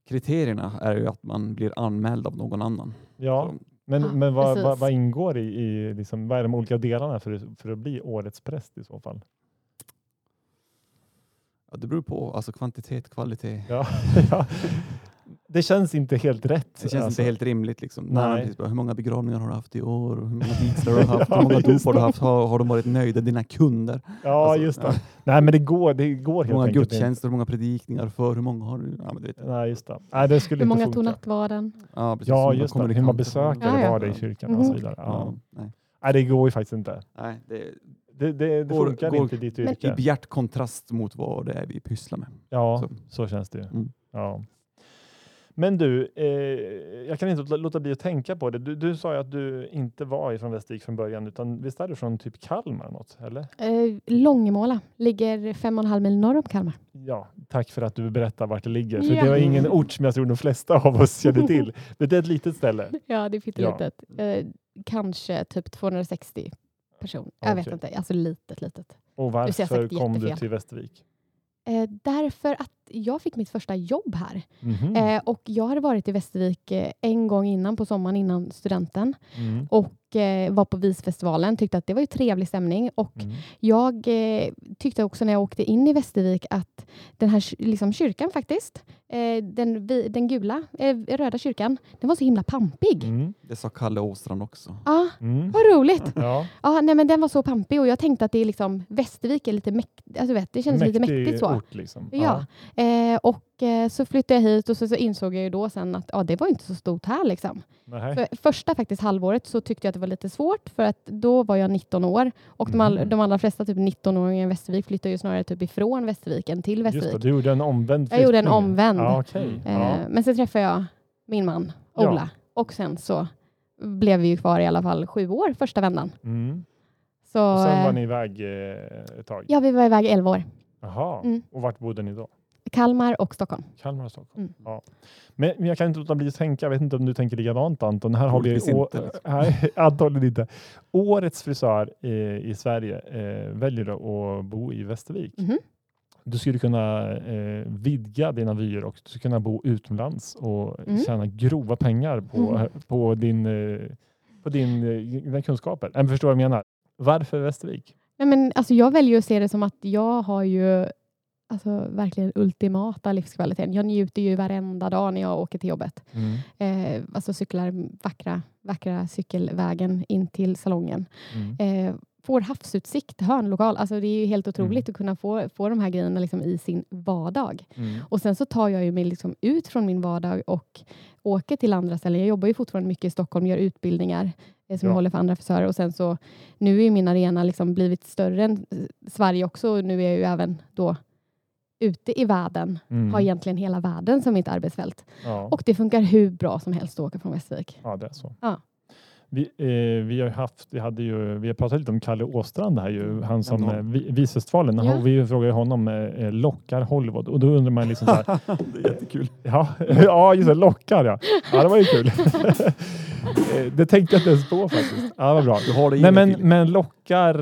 [SPEAKER 2] Kriterierna är ju att man blir anmäld av någon annan.
[SPEAKER 1] Ja,
[SPEAKER 2] Så-
[SPEAKER 1] men,
[SPEAKER 3] Ja,
[SPEAKER 1] men vad,
[SPEAKER 3] precis.
[SPEAKER 1] vad, vad ingår i, i liksom, vad är de olika delarna för, för att bli årets präst i så fall?
[SPEAKER 2] Ja, det beror på. Alltså kvantitet, kvalitet.
[SPEAKER 1] Ja, alltså, ja. Det känns inte helt rätt. alltså.
[SPEAKER 2] Det känns inte helt rimligt. Liksom.
[SPEAKER 1] Nej.
[SPEAKER 2] Nej. precis. Bara, Hur många begravningar har du haft i år? Och Hur många vigslar har du haft?
[SPEAKER 1] Ja,
[SPEAKER 2] Hur många dop
[SPEAKER 1] just
[SPEAKER 2] har du
[SPEAKER 1] det.
[SPEAKER 2] haft? Har, har de varit nöjda, dina kunder?
[SPEAKER 1] Ja,
[SPEAKER 2] Alltså,
[SPEAKER 1] just det.
[SPEAKER 2] ja.
[SPEAKER 1] Nej, men det går, det går
[SPEAKER 2] Hur
[SPEAKER 1] helt
[SPEAKER 2] många
[SPEAKER 1] enkelt
[SPEAKER 2] gudstjänster, hur många predikningar för? Hur många har du? Ja, men du vet.
[SPEAKER 1] inte. Nej, just det. Nej, det skulle
[SPEAKER 3] Hur många
[SPEAKER 1] inte
[SPEAKER 3] tog
[SPEAKER 1] funka.
[SPEAKER 3] nattvarden?
[SPEAKER 2] Ja, precis.
[SPEAKER 1] Ja, just det. Hur många
[SPEAKER 2] kommunikanter.
[SPEAKER 1] besökare
[SPEAKER 3] Ja, ja.
[SPEAKER 1] var det i kyrkan och så
[SPEAKER 3] Mhm.
[SPEAKER 1] vidare.
[SPEAKER 2] Ja,
[SPEAKER 1] Ja.
[SPEAKER 2] nej.
[SPEAKER 1] Nej, det går ju faktiskt inte.
[SPEAKER 2] Nej, det är
[SPEAKER 1] Det, det, det
[SPEAKER 2] Går-
[SPEAKER 1] funkar
[SPEAKER 2] går-
[SPEAKER 1] inte i ditt
[SPEAKER 3] Men-
[SPEAKER 2] i
[SPEAKER 1] yrke.
[SPEAKER 2] bjärt kontrast mot vad det är vi pysslar med.
[SPEAKER 1] Ja,
[SPEAKER 2] Så.
[SPEAKER 1] så känns det ju.
[SPEAKER 2] Mm.
[SPEAKER 1] Ja. Men du, eh, jag kan inte låta- låta bli att tänka på det. Du, du sa ju att du inte var från Västervik från början, utan visst är du från typ Kalmar eller något? Eller?
[SPEAKER 3] Eh, Långemåla ligger fem och en halv mil norr om Kalmar.
[SPEAKER 1] Ja, tack för att du berättar vart det ligger. För
[SPEAKER 3] Ja.
[SPEAKER 1] Det var ingen ort som jag tror de flesta av oss känner till. Men det är ett litet ställe.
[SPEAKER 3] Ja, det är pyttelitet. Eh, kanske typ 260 personer. Jag vet
[SPEAKER 1] Okej.
[SPEAKER 3] inte, alltså litet, litet.
[SPEAKER 1] Och
[SPEAKER 3] jag sagt
[SPEAKER 1] varför kom du
[SPEAKER 3] jättefel.
[SPEAKER 1] till Västervik?
[SPEAKER 3] Eh, därför att jag fick mitt första jobb här.
[SPEAKER 1] Mhm.
[SPEAKER 3] Eh, och jag hade varit i Västervik eh, en gång innan, på sommaren innan studenten.
[SPEAKER 1] Mm.
[SPEAKER 3] Och eh, var på visfestivalen, tyckte att det var ju trevlig stämning. Och
[SPEAKER 1] Mm.
[SPEAKER 3] jag eh, tyckte också när jag åkte in i Västervik att den här kyr- liksom, kyrkan faktiskt, eh, den, vi, den gula, eh, röda kyrkan, den var så himla pampig.
[SPEAKER 1] Mm.
[SPEAKER 2] Det sa Kalle Åstrand också.
[SPEAKER 3] Ah,
[SPEAKER 1] Mm.
[SPEAKER 3] vad roligt!
[SPEAKER 1] Ja.
[SPEAKER 3] Ah, nej, men den var så pampig och jag tänkte att det är liksom, Västervik är lite mäktigt, alltså, du vet, det kändes lite mäktigt så.
[SPEAKER 1] ort liksom.
[SPEAKER 3] Ja, eh, och eh, så flyttade jag hit och så, så insåg jag ju då sen att ja, det var inte så stort här. Liksom.
[SPEAKER 1] Nej.
[SPEAKER 3] För första faktiskt halvåret så tyckte jag att det var lite svårt för att då var jag 19 år och de, all,
[SPEAKER 1] Mm.
[SPEAKER 3] de allra flesta typ 19-åringar i Västervik flyttar ju snarare typ ifrån Västervik än till
[SPEAKER 1] Just det,
[SPEAKER 3] Västervik.
[SPEAKER 1] du gjorde en omvänd
[SPEAKER 3] Jag gjorde en
[SPEAKER 1] flyttning.
[SPEAKER 3] omvänd.
[SPEAKER 1] Ja, okej.
[SPEAKER 3] Eh,
[SPEAKER 1] ja.
[SPEAKER 3] Men så träffade jag min man
[SPEAKER 1] Ja.
[SPEAKER 3] Ola och sen så blev vi ju kvar i alla fall sju år första vändan.
[SPEAKER 1] Mm.
[SPEAKER 3] Så,
[SPEAKER 1] Och sen
[SPEAKER 3] eh,
[SPEAKER 1] var ni iväg eh, ett tag?
[SPEAKER 3] Ja, vi var iväg 11 år.
[SPEAKER 1] Jaha.
[SPEAKER 3] Mm.
[SPEAKER 1] Och vart bodde ni då?
[SPEAKER 3] Kalmar och Stockholm.
[SPEAKER 1] Kalmar och Stockholm?
[SPEAKER 3] Mm.
[SPEAKER 1] Ja. Men, men jag kan inte låta bli att tänka, jag vet inte om du tänker likadant Anton. Här har vi
[SPEAKER 2] Troligtvis
[SPEAKER 1] å-
[SPEAKER 2] inte, liksom.
[SPEAKER 1] Nej, antagligen inte. Årets frisör eh, i Sverige eh, väljer då att bo i Västervik.
[SPEAKER 3] Mhm.
[SPEAKER 1] Du skulle kunna eh, vidga dina vyer och du skulle kunna bo utomlands och
[SPEAKER 3] Mm.
[SPEAKER 1] tjäna grova pengar på,
[SPEAKER 3] Mm.
[SPEAKER 1] på din, eh, på din, eh, dina kunskaper. Äh, förstår vad jag menar? Varför Västervik?
[SPEAKER 3] Nej, men alltså, jag väljer att se det som att jag har ju alltså, verkligen ultimata livskvaliteten. Jag njuter ju varenda dag när jag åker till jobbet.
[SPEAKER 2] Mm.
[SPEAKER 3] Eh, alltså cyklar vackra, vackra cykelvägen in till salongen.
[SPEAKER 1] Mm.
[SPEAKER 3] Eh, får havsutsikt, hörnlokal. Alltså, det är ju helt otroligt
[SPEAKER 1] Mm.
[SPEAKER 3] att kunna få, få de här grejerna liksom, i sin vardag.
[SPEAKER 1] Mm.
[SPEAKER 3] Och sen så tar jag ju mig liksom ut från min vardag och åker till andra ställen. Jag jobbar ju fortfarande mycket i Stockholm, gör utbildningar eh, som
[SPEAKER 1] Ja.
[SPEAKER 3] jag håller för andra frisörer. Och sen så, nu är ju min arena liksom blivit större än eh, Sverige också. Och nu är jag ju även då ute i världen.
[SPEAKER 1] Mm.
[SPEAKER 3] Har egentligen hela världen som mitt arbetsfält.
[SPEAKER 1] Ja.
[SPEAKER 3] Och det funkar hur bra som helst att åka från Västervik.
[SPEAKER 1] Ja, det är så.
[SPEAKER 3] Ja.
[SPEAKER 1] Vi, eh, vi har ju haft, vi hade ju, vi har pratat lite om Kalle Åstrand här ju, han som
[SPEAKER 2] Nämnde
[SPEAKER 1] eh,
[SPEAKER 2] honom.
[SPEAKER 1] vi- Visfestivalen,
[SPEAKER 3] Ja.
[SPEAKER 1] ja. vi frågade honom, eh, lockar Hollywood? Och då undrar man liksom så här,
[SPEAKER 2] det är jättekul.
[SPEAKER 1] ja, ja just det, lockar ja. Ja, det var ju kul. Eh, det tänkte jag inte ens på faktiskt. Ja, vad bra.
[SPEAKER 2] Du har det i
[SPEAKER 1] Nej,
[SPEAKER 2] dig,
[SPEAKER 1] men,
[SPEAKER 2] Filip.
[SPEAKER 1] men lockar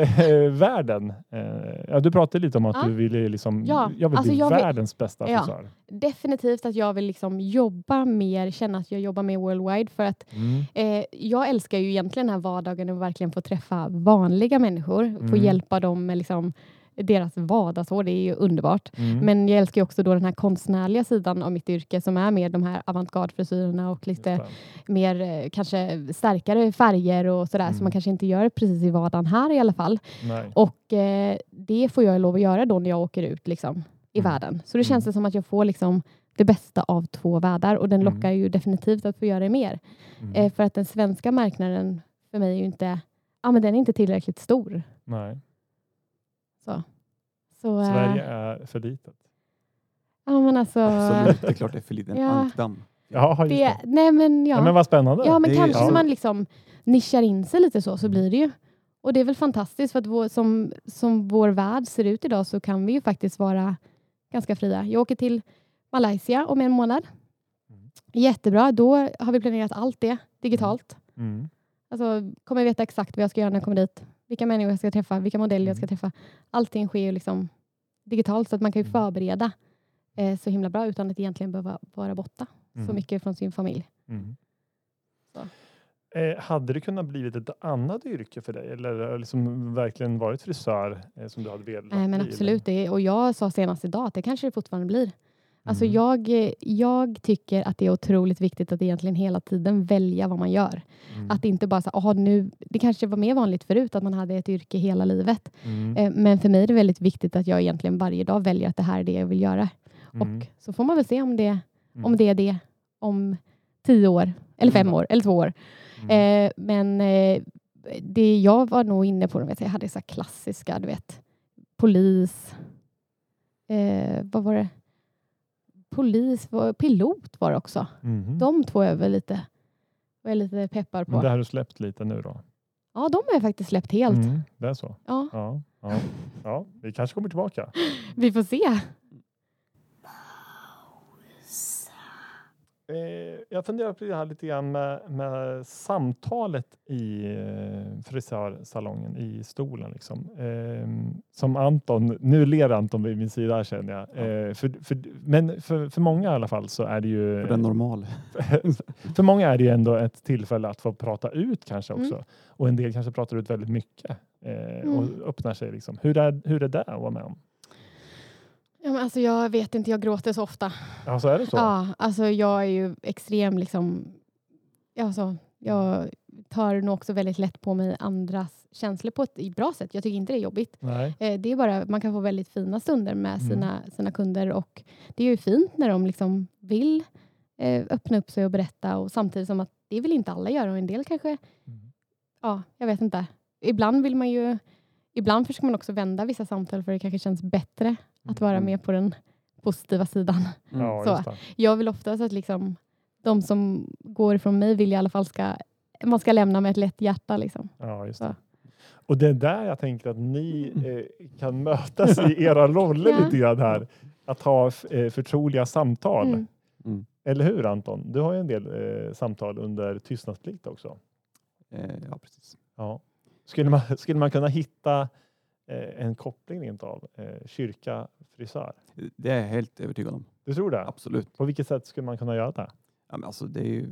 [SPEAKER 1] eh, världen? Eh, ja, du pratade lite om att
[SPEAKER 3] Ja.
[SPEAKER 1] du ville liksom,
[SPEAKER 3] Ja,
[SPEAKER 1] jag vill
[SPEAKER 3] alltså
[SPEAKER 1] bli
[SPEAKER 3] jag vill-
[SPEAKER 1] världens bästa
[SPEAKER 3] Ja.
[SPEAKER 1] frisör.
[SPEAKER 3] Definitivt att jag vill liksom jobba mer, känna att jag jobbar mer worldwide. För att
[SPEAKER 1] Mm.
[SPEAKER 3] Eh, jag älskar ju egentligen den här vardagen och verkligen få träffa vanliga människor. Få
[SPEAKER 1] Mm.
[SPEAKER 3] hjälpa dem med liksom deras vardagsår. Det är ju underbart.
[SPEAKER 1] Mm.
[SPEAKER 3] Men eh, jag älskar ju också då den här konstnärliga sidan av mitt yrke som är mer de här avantgardfrisyrerna och
[SPEAKER 1] Just
[SPEAKER 3] lite
[SPEAKER 1] det.
[SPEAKER 3] mer eh, kanske starkare färger och sådär
[SPEAKER 1] Mm.
[SPEAKER 3] som man kanske inte gör precis i vardagen här i alla fall.
[SPEAKER 1] Nej.
[SPEAKER 3] Och eh, det får jag lov att göra då när jag åker ut liksom, i
[SPEAKER 1] Mm.
[SPEAKER 3] världen. Så det känns det som att jag får liksom, det bästa av två världar och den
[SPEAKER 1] Mm.
[SPEAKER 3] lockar ju definitivt att få göra det mer.
[SPEAKER 1] Mm.
[SPEAKER 3] Eh, för att den svenska marknaden för mig är ju inte ja, men den är inte tillräckligt stor.
[SPEAKER 1] Nej.
[SPEAKER 3] Så, så eh,
[SPEAKER 1] Sverige är för litet.
[SPEAKER 3] Ja, men alltså,
[SPEAKER 2] Absolut, det är klart det är för liten
[SPEAKER 3] Ja.
[SPEAKER 2] ankdamm.
[SPEAKER 1] Ja, just det.
[SPEAKER 3] det, nej, men ja.
[SPEAKER 1] Ja, men vad spännande.
[SPEAKER 3] Ja, men
[SPEAKER 2] Det är ju
[SPEAKER 3] kanske
[SPEAKER 1] så.
[SPEAKER 3] man liksom nischar in sig lite så, så blir det ju. Och det är väl fantastiskt för att vår, som, som vår värld ser ut idag så kan vi ju faktiskt vara ganska fria. Jag åker till Malaysia om en månad.
[SPEAKER 1] Mm.
[SPEAKER 3] Jättebra, då har vi planerat allt det digitalt.
[SPEAKER 1] Mm.
[SPEAKER 3] Alltså kommer jag veta exakt vad jag ska göra när jag kommer dit. Vilka människor jag ska träffa, vilka modeller jag ska
[SPEAKER 1] Mm.
[SPEAKER 3] träffa. Allting sker ju liksom digitalt så att man kan ju
[SPEAKER 1] Mm.
[SPEAKER 3] förbereda eh, så himla bra utan att egentligen behöva vara borta så
[SPEAKER 1] Mm.
[SPEAKER 3] mycket från sin familj.
[SPEAKER 1] Mm.
[SPEAKER 3] Så.
[SPEAKER 1] Eh, hade det kunnat blivit ett annat yrke för dig? Eller har det liksom verkligen varit frisör eh, som du hade velat
[SPEAKER 3] Nej, men
[SPEAKER 1] bli, eller?
[SPEAKER 3] absolut. Det är, och jag sa senast idag att det kanske det fortfarande blir. Alltså
[SPEAKER 1] Mm.
[SPEAKER 3] jag, eh, jag tycker att det är otroligt viktigt att egentligen hela tiden välja vad man gör.
[SPEAKER 1] Mm.
[SPEAKER 3] Att inte bara så här, "Aha, nu, det kanske var mer vanligt förut att man hade ett yrke hela livet.
[SPEAKER 1] Mm.
[SPEAKER 3] Eh, Men för mig är det väldigt viktigt att jag egentligen varje dag väljer att det här är det jag vill göra.
[SPEAKER 1] Mm.
[SPEAKER 3] Och så får man väl se om det,
[SPEAKER 1] Mm.
[SPEAKER 3] om det är det om tio år, eller fem
[SPEAKER 1] Mm.
[SPEAKER 3] år, eller två år.
[SPEAKER 1] Mm.
[SPEAKER 3] Eh, men eh, det jag var nog inne på, du vet, jag hade så här klassiska, du vet, polis, eh, vad var det? Polis, var- pilot var det också.
[SPEAKER 1] Mhm.
[SPEAKER 3] De två är väl lite, var jag lite peppar på.
[SPEAKER 1] Men det har du släppt lite nu då?
[SPEAKER 3] Ja, de har jag faktiskt släppt helt.
[SPEAKER 1] Mm. Det är så?
[SPEAKER 3] Ja,
[SPEAKER 1] Ja, ja, ja. Vi kanske kommer tillbaka.
[SPEAKER 3] vi får se.
[SPEAKER 1] Eh, jag funderar på det här lite grann med, med samtalet i eh, frisörsalongen, i stolen. Liksom. Eh, som Anton, nu ler Anton vid min sida här, känner jag. Eh, för, för, men för, för många i alla fall så är det ju...
[SPEAKER 2] För den normal.
[SPEAKER 1] för många är det ju ändå ett tillfälle att få prata ut kanske
[SPEAKER 3] Mm.
[SPEAKER 1] också. Och en del kanske pratar ut väldigt mycket eh,
[SPEAKER 3] Mm.
[SPEAKER 1] och öppnar sig. Liksom. Hur, är, hur är det att vara med om?
[SPEAKER 3] Ja, men alltså, jag vet inte, jag gråter så ofta.
[SPEAKER 1] Ja, så är det så?
[SPEAKER 3] Ja, alltså, jag är ju extrem liksom... Ja, så jag tar nog också väldigt lätt på mig andras känslor på ett bra sätt. Jag tycker inte det är jobbigt.
[SPEAKER 1] Nej.
[SPEAKER 3] Eh, Det är bara, man kan få väldigt fina stunder med sina, sina kunder och det är ju fint när de liksom vill eh, öppna upp sig och berätta och samtidigt som att det vill inte alla göra och en del kanske,
[SPEAKER 1] Mm.
[SPEAKER 3] ja, jag vet inte. Ibland vill man ju, ibland försöker man också vända vissa samtal för det kanske känns bättre att vara
[SPEAKER 2] Mm.
[SPEAKER 3] med på den positiva sidan.
[SPEAKER 2] Mm.
[SPEAKER 1] Ja,
[SPEAKER 3] Så.
[SPEAKER 1] just det.
[SPEAKER 3] Jag vill oftast att liksom, de som går ifrån mig vill jag i alla fall ska, man ska lämna med ett lätt hjärta. Liksom.
[SPEAKER 1] Ja, just
[SPEAKER 3] Så.
[SPEAKER 1] det. Och det är där jag tänker att ni eh, kan mötas i era roller
[SPEAKER 3] Mm. Ja.
[SPEAKER 1] lite grann här. Att ha f- eh, förtroliga samtal.
[SPEAKER 3] Mm.
[SPEAKER 2] Mm.
[SPEAKER 1] Eller hur Anton? Du har ju en del eh, samtal under tystnadsplikt också.
[SPEAKER 2] Eh, ja, precis.
[SPEAKER 1] Ja. Skulle, man, skulle man kunna hitta eh, en koppling rent av? Eh, kyrka, frisör?
[SPEAKER 2] Det är jag helt övertygad om.
[SPEAKER 1] Du tror det?
[SPEAKER 2] Absolut.
[SPEAKER 1] På vilket sätt skulle man kunna göra det?
[SPEAKER 2] Ja, men alltså, det är ju,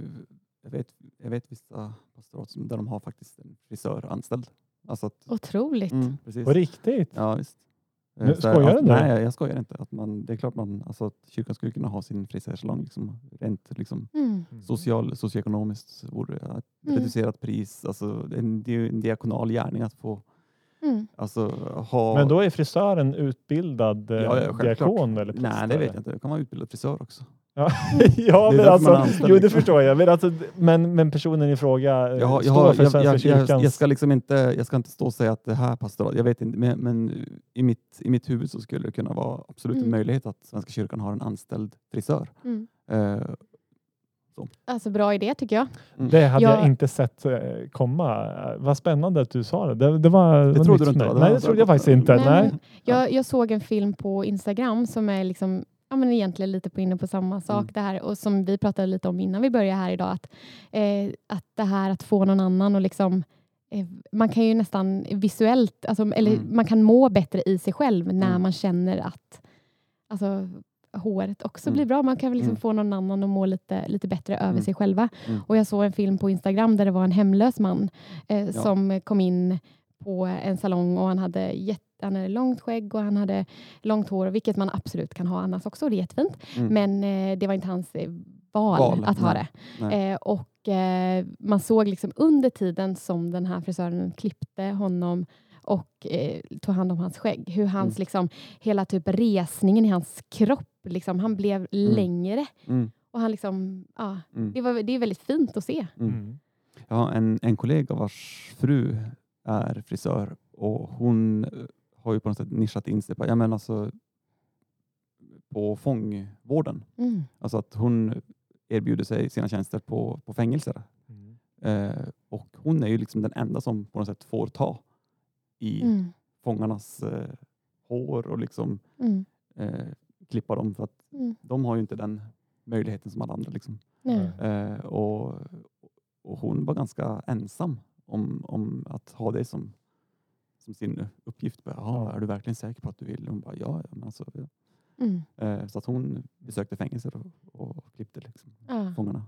[SPEAKER 2] jag, vet, jag vet vissa pastorat som- där de har faktiskt en frisör anställd. Alltså att,
[SPEAKER 3] Otroligt.
[SPEAKER 2] mm, precis.
[SPEAKER 1] På riktigt?
[SPEAKER 2] Ja, visst. Eh,
[SPEAKER 1] Nu,
[SPEAKER 2] så här,
[SPEAKER 1] skojar
[SPEAKER 2] alltså,
[SPEAKER 1] du nu?
[SPEAKER 2] Nej, jag skojar inte. Att man, det är klart man, alltså, att kyrkan skulle kunna ha sin frisörsalong. Liksom, rent liksom,
[SPEAKER 3] Mm.
[SPEAKER 1] Mm.
[SPEAKER 2] social, socioekonomiskt vore det att
[SPEAKER 3] Mm.
[SPEAKER 2] reducerat pris. Alltså, en, det är ju en diakonal gärning att få
[SPEAKER 3] Mm.
[SPEAKER 2] alltså, ha...
[SPEAKER 1] Men då är frisören utbildad eh,
[SPEAKER 2] Ja, ja, självklart.
[SPEAKER 1] diakon eller präst?
[SPEAKER 2] Nej, det
[SPEAKER 1] eller?
[SPEAKER 2] vet jag inte. Då kan man utbilda frisör också.
[SPEAKER 1] Ja,
[SPEAKER 2] Det är
[SPEAKER 1] men
[SPEAKER 2] därför man är
[SPEAKER 1] alltså,
[SPEAKER 2] anställd,
[SPEAKER 1] jo, det
[SPEAKER 2] liksom.
[SPEAKER 1] förstår jag. Men, alltså, men, men personen i fråga eh,
[SPEAKER 2] Jag, har- jag,
[SPEAKER 1] står
[SPEAKER 2] har-
[SPEAKER 1] för
[SPEAKER 2] jag,
[SPEAKER 1] Svenska
[SPEAKER 2] jag, jag,
[SPEAKER 1] kyrkans...
[SPEAKER 2] jag, ska liksom inte, jag ska inte stå och säga att det här pastorat, jag vet inte, men, men i, mitt, i mitt huvud så skulle det kunna vara absolut
[SPEAKER 3] Mm.
[SPEAKER 2] en möjlighet att Svenska kyrkan har en anställd frisör.
[SPEAKER 3] Mm.
[SPEAKER 2] Eh,
[SPEAKER 3] Alltså bra idé tycker jag.
[SPEAKER 1] Det hade jag
[SPEAKER 3] jag-
[SPEAKER 1] inte sett eh, komma. Eh, Vad spännande att du sa det. Det, det var det
[SPEAKER 2] trodde du inte, va? Det
[SPEAKER 1] Nej,
[SPEAKER 2] var-
[SPEAKER 1] det trodde jag faktiskt inte.
[SPEAKER 3] Nej,
[SPEAKER 1] Nej.
[SPEAKER 3] men Jag, jag såg en film på Instagram som är liksom, ja, men egentligen lite på inne på samma sak
[SPEAKER 2] Mm.
[SPEAKER 3] det här och som vi pratade lite om innan vi började här idag. Att, eh, att det här att få någon annan och liksom eh, man kan ju nästan visuellt, alltså, eller
[SPEAKER 2] Mm.
[SPEAKER 3] man kan må bättre i sig själv när
[SPEAKER 2] Mm.
[SPEAKER 3] man känner att alltså, håret också
[SPEAKER 2] Mm.
[SPEAKER 3] blir bra. Man kan väl liksom
[SPEAKER 2] Mm.
[SPEAKER 3] få någon annan att må lite, lite bättre över
[SPEAKER 2] Mm.
[SPEAKER 3] sig själva.
[SPEAKER 2] Mm.
[SPEAKER 3] Och jag såg en film på Instagram där det var en hemlös man eh,
[SPEAKER 2] Ja.
[SPEAKER 3] som kom in på en salong och han hade, jätte, han hade långt skägg och han hade långt hår, vilket man absolut kan ha annars också, och det är jättefint.
[SPEAKER 2] mm.
[SPEAKER 3] Men eh, det var inte hans eh, val,
[SPEAKER 2] Val,
[SPEAKER 3] att ha
[SPEAKER 2] nej,
[SPEAKER 3] det.
[SPEAKER 2] nej.
[SPEAKER 3] Eh, och eh, man såg liksom under tiden som den här frisören klippte honom och eh, tog hand om hans skägg, hur hans
[SPEAKER 2] Mm.
[SPEAKER 3] liksom, hela typ resningen i hans kropp, liksom, han blev längre.
[SPEAKER 2] Mm,
[SPEAKER 3] Och han liksom, ja,
[SPEAKER 2] mm.
[SPEAKER 3] det, var, det är väldigt fint att se.
[SPEAKER 2] Mm. Jag har en, en kollega vars fru är frisör och hon eh, har ju på något sätt nischat in sig på, ja, men alltså, på fångvården.
[SPEAKER 3] Mm.
[SPEAKER 2] Alltså att hon erbjuder sig sina tjänster på, på fängelser.
[SPEAKER 1] Mm.
[SPEAKER 2] Eh, och hon är ju liksom den enda som på något sätt får ta i
[SPEAKER 3] Mm.
[SPEAKER 2] fångarnas eh, hår och liksom
[SPEAKER 3] Mm.
[SPEAKER 2] eh, klippa dem för att
[SPEAKER 3] Mm.
[SPEAKER 2] de har ju inte den möjligheten som alla andra. Liksom.
[SPEAKER 1] Mm.
[SPEAKER 3] Nej.
[SPEAKER 2] Eh, och, och hon var ganska ensam om, om att ha det som, som sin uppgift. Bara, ja.
[SPEAKER 1] Ja.
[SPEAKER 2] Är du verkligen säker på att du vill? Hon bara, ja. ja, Men alltså, ja.
[SPEAKER 3] Mm.
[SPEAKER 2] Eh, så att hon besökte fängelser och, och klippte liksom,
[SPEAKER 3] Ja.
[SPEAKER 2] fångarna.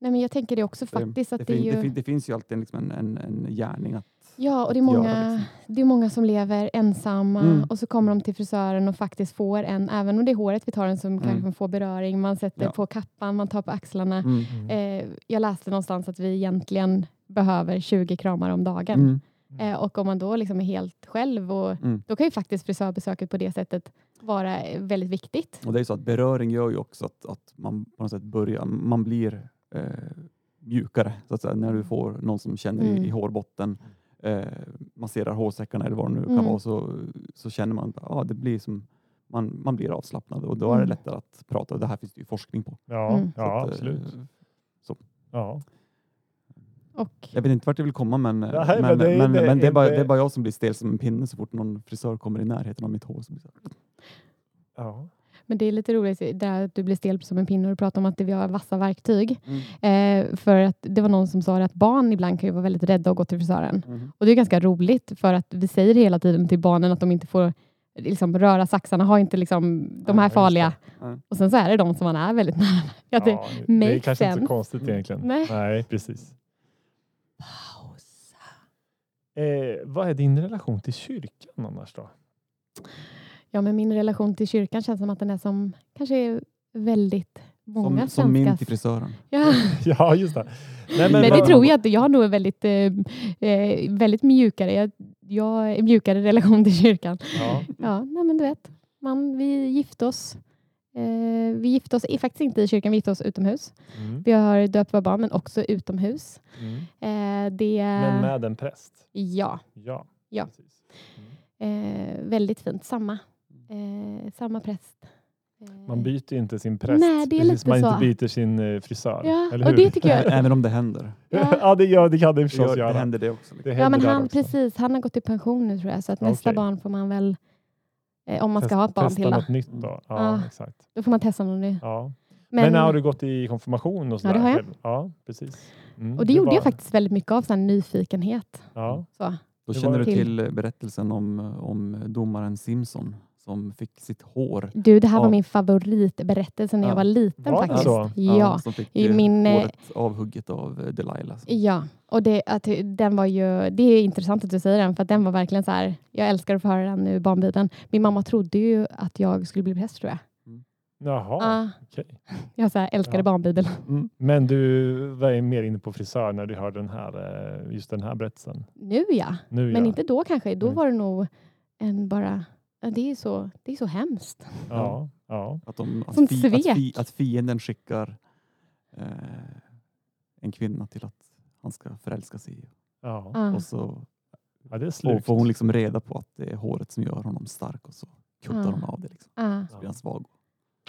[SPEAKER 3] Nej, men jag tänker det också
[SPEAKER 2] För det-
[SPEAKER 3] Mm. faktiskt.
[SPEAKER 2] det,
[SPEAKER 3] Att det,
[SPEAKER 2] fin- det,
[SPEAKER 3] är
[SPEAKER 2] fin-
[SPEAKER 3] ju,
[SPEAKER 2] det finns ju alltid liksom en, en, en gärning att
[SPEAKER 3] ja, och det är
[SPEAKER 2] göra.
[SPEAKER 3] många,
[SPEAKER 2] Liksom.
[SPEAKER 3] det är många som lever ensamma
[SPEAKER 2] Mm.
[SPEAKER 3] och så kommer de till frisören och faktiskt får en, även om det är håret vi tar en som
[SPEAKER 2] Mm.
[SPEAKER 3] kanske får beröring, man sätter
[SPEAKER 2] Ja.
[SPEAKER 3] på kappan, man tar på axlarna.
[SPEAKER 2] Mm.
[SPEAKER 3] Eh, jag läste någonstans att vi egentligen behöver 20 kramar om dagen.
[SPEAKER 2] Mm.
[SPEAKER 3] Eh, och om man då liksom är helt själv, och,
[SPEAKER 2] Mm.
[SPEAKER 3] då kan ju faktiskt frisörbesöket på det sättet vara eh, väldigt viktigt.
[SPEAKER 2] Och det är ju så att beröring gör ju också att, att man på något sätt börjar, man blir eh, mjukare så att säga, när du får någon som känner
[SPEAKER 3] Mm.
[SPEAKER 2] i, i hårbotten, eh, masserar hårsäckarna eller vad det nu kan
[SPEAKER 3] Mm.
[SPEAKER 2] vara, så, så känner man att ja, det blir som man, man blir avslappnad och då är det
[SPEAKER 3] Mm.
[SPEAKER 2] lättare att prata. Och Det här finns det ju forskning på.
[SPEAKER 1] Ja,
[SPEAKER 3] Mm.
[SPEAKER 2] Så
[SPEAKER 1] ja
[SPEAKER 2] att, eh,
[SPEAKER 1] absolut. Ja.
[SPEAKER 3] Och,
[SPEAKER 2] Jag vet inte vart jag vill komma men, eh,
[SPEAKER 1] Nej, men
[SPEAKER 2] men,
[SPEAKER 1] det är-
[SPEAKER 2] men,
[SPEAKER 1] det är
[SPEAKER 2] men det, är bara,
[SPEAKER 1] inte-
[SPEAKER 2] det är bara jag som blir stel som en pinne så fort någon frisör kommer i närheten av mitt hår. Så blir det så här,
[SPEAKER 1] Ja.
[SPEAKER 3] men det är lite roligt det där att du blir stel som en pinne och du pratar om att vi har vassa verktyg.
[SPEAKER 2] mm,
[SPEAKER 3] Eh, för att det var någon som sa det att barn ibland kan ju vara väldigt rädda att gå till frisören.
[SPEAKER 2] mhm,
[SPEAKER 3] Och det är ganska roligt för att vi säger hela tiden till barnen att de inte får liksom, röra saxarna, ha inte liksom, de
[SPEAKER 2] Ja,
[SPEAKER 3] här
[SPEAKER 1] just
[SPEAKER 3] farliga.
[SPEAKER 2] det. Ja.
[SPEAKER 3] Och sen så är det de som man är väldigt nära. Jag ty-
[SPEAKER 1] ja, det är
[SPEAKER 3] makes
[SPEAKER 1] kanske inte
[SPEAKER 3] sense.
[SPEAKER 1] så konstigt
[SPEAKER 2] Mm.
[SPEAKER 1] egentligen.
[SPEAKER 3] Nej.
[SPEAKER 1] precis.
[SPEAKER 4] Pausa.
[SPEAKER 1] Eh, vad är din relation till kyrkan annars då?
[SPEAKER 3] Ja, men min relation till kyrkan känns som att den är som kanske är väldigt många
[SPEAKER 2] Som, som min
[SPEAKER 3] svenskars.
[SPEAKER 2] till frisören.
[SPEAKER 3] ja.
[SPEAKER 1] ja, just det. Nej,
[SPEAKER 3] Men, det
[SPEAKER 1] vad-
[SPEAKER 3] tror jag att jag nog är väldigt, eh, eh, väldigt mjukare. Jag, jag är mjukare i relation till kyrkan.
[SPEAKER 1] Ja.
[SPEAKER 3] Ja, nej men du vet. Man, vi gifte oss. Eh, vi gifte oss i- faktiskt inte i kyrkan, vi gifte oss utomhus.
[SPEAKER 1] Mm.
[SPEAKER 3] Vi har döpt våra barn, men också utomhus.
[SPEAKER 1] Mm.
[SPEAKER 3] Eh, det,
[SPEAKER 1] Men med en präst?
[SPEAKER 3] ja,
[SPEAKER 1] Ja.
[SPEAKER 3] Ja.
[SPEAKER 1] Precis. Mm.
[SPEAKER 3] eh, väldigt fint. Samma, eh, samma präst. Eh,
[SPEAKER 1] Man byter ju inte sin präst.
[SPEAKER 3] Nej, det är
[SPEAKER 1] precis,
[SPEAKER 3] lite
[SPEAKER 1] man
[SPEAKER 3] så.
[SPEAKER 1] inte byter sin eh, frisör.
[SPEAKER 3] Ja,
[SPEAKER 1] eller
[SPEAKER 3] och
[SPEAKER 1] hur?
[SPEAKER 3] det tycker jag...
[SPEAKER 2] Även om det händer.
[SPEAKER 1] ja.
[SPEAKER 3] Ja.
[SPEAKER 1] det, gör, det kan det
[SPEAKER 2] Det,
[SPEAKER 1] förstås
[SPEAKER 2] gör, det
[SPEAKER 1] göra.
[SPEAKER 2] händer det också. liksom.
[SPEAKER 1] Det
[SPEAKER 3] Ja,
[SPEAKER 1] händer
[SPEAKER 3] men
[SPEAKER 1] där
[SPEAKER 3] han,
[SPEAKER 1] också.
[SPEAKER 3] precis, han har gått i pension nu tror jag, så att nästa
[SPEAKER 1] Okej.
[SPEAKER 3] barn får man väl, eh, om man ska
[SPEAKER 1] Test-
[SPEAKER 3] ha ett barn
[SPEAKER 1] testa
[SPEAKER 3] till då,
[SPEAKER 1] något nytt då. Ja,
[SPEAKER 3] Ja.
[SPEAKER 1] exakt.
[SPEAKER 3] då får man testa någon ny.
[SPEAKER 1] Ja. Men,
[SPEAKER 3] Men,
[SPEAKER 1] har du gått i konfirmation och sådär?
[SPEAKER 3] det har jag.
[SPEAKER 1] själv? Ja, precis. Mm,
[SPEAKER 3] och det
[SPEAKER 1] hur
[SPEAKER 3] gjorde
[SPEAKER 1] var-
[SPEAKER 3] jag faktiskt väldigt mycket av, så här, nyfikenhet.
[SPEAKER 1] Ja.
[SPEAKER 3] Så.
[SPEAKER 2] Då
[SPEAKER 1] Det
[SPEAKER 2] känner
[SPEAKER 1] var-
[SPEAKER 2] du till berättelsen om, om domaren Simpson som fick sitt hår.
[SPEAKER 3] Du, det här
[SPEAKER 2] Ja.
[SPEAKER 3] var min favoritberättelse när
[SPEAKER 2] Ja.
[SPEAKER 3] jag var liten
[SPEAKER 1] Var det
[SPEAKER 3] faktiskt.
[SPEAKER 1] så?
[SPEAKER 3] Ja.
[SPEAKER 2] som fick
[SPEAKER 3] i
[SPEAKER 2] eh,
[SPEAKER 3] min, eh,
[SPEAKER 2] håret avhugget av eh, Delilah.
[SPEAKER 3] Ja, och det, att, den var ju, det är intressant att du säger den, för att den var verkligen så här, jag älskar att få höra den ur barnbibeln. Min mamma trodde ju att jag skulle bli präst tror jag.
[SPEAKER 1] Jaha,
[SPEAKER 3] Ah,
[SPEAKER 1] okej.
[SPEAKER 3] jag så här, älskade
[SPEAKER 1] Ja.
[SPEAKER 3] barnbibeln.
[SPEAKER 1] Men du var ju mer inne på frisör när du hörde den här, eh, just den här berättelsen?
[SPEAKER 3] Nu ja,
[SPEAKER 1] Nu
[SPEAKER 3] men
[SPEAKER 1] ja.
[SPEAKER 3] inte då kanske. Då
[SPEAKER 1] Mm.
[SPEAKER 3] var det nog en bara, ja, det är så, det är så hemskt.
[SPEAKER 1] Ja, ja.
[SPEAKER 2] Att, de, att,
[SPEAKER 3] Som
[SPEAKER 2] fi, att, fi,
[SPEAKER 3] svek.
[SPEAKER 2] att fienden skickar eh, en kvinna till att han ska förälska sig i.
[SPEAKER 1] ja.
[SPEAKER 3] Ja.
[SPEAKER 2] Och så
[SPEAKER 1] ja det är
[SPEAKER 2] och
[SPEAKER 1] slukt.
[SPEAKER 2] får hon liksom reda på att det är håret som gör honom stark och så kuttar
[SPEAKER 3] Ja.
[SPEAKER 2] hon av det. Liksom.
[SPEAKER 3] Ja,
[SPEAKER 2] Så blir han svag.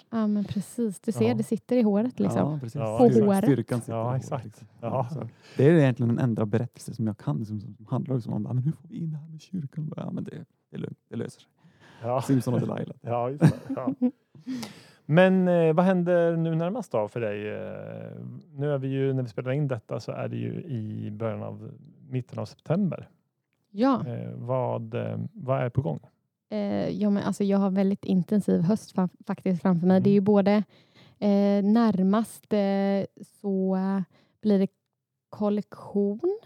[SPEAKER 3] ja, men precis. Du ser,
[SPEAKER 1] Ja.
[SPEAKER 3] det sitter i håret liksom.
[SPEAKER 2] Ja, precis.
[SPEAKER 1] Ja,
[SPEAKER 3] På
[SPEAKER 2] Styrkan-
[SPEAKER 3] håret.
[SPEAKER 2] Styrkan sitter
[SPEAKER 1] Ja,
[SPEAKER 2] i håret,
[SPEAKER 1] exakt.
[SPEAKER 2] liksom.
[SPEAKER 1] Ja.
[SPEAKER 2] Så Det är egentligen den enda berättelse som jag kan liksom, som handlar liksom om bara, men hur får vi in det här med kyrkan. Ja, men det, det, lö- det löser sig.
[SPEAKER 1] Ja.
[SPEAKER 2] Simpson och Delilah.
[SPEAKER 1] Ah. Ja, just det. Ja. Men eh, vad händer nu närmast då för dig? Eh, nu är vi ju, när vi spelar in detta så är det ju i början av mitten av september.
[SPEAKER 3] Ja.
[SPEAKER 1] Eh, vad, eh, vad är på gång?
[SPEAKER 3] Eh, ja, men alltså jag har väldigt intensiv höst fa- faktiskt framför mig. Det är
[SPEAKER 1] Mm.
[SPEAKER 3] ju både eh, närmast eh, så eh, blir det kollektion.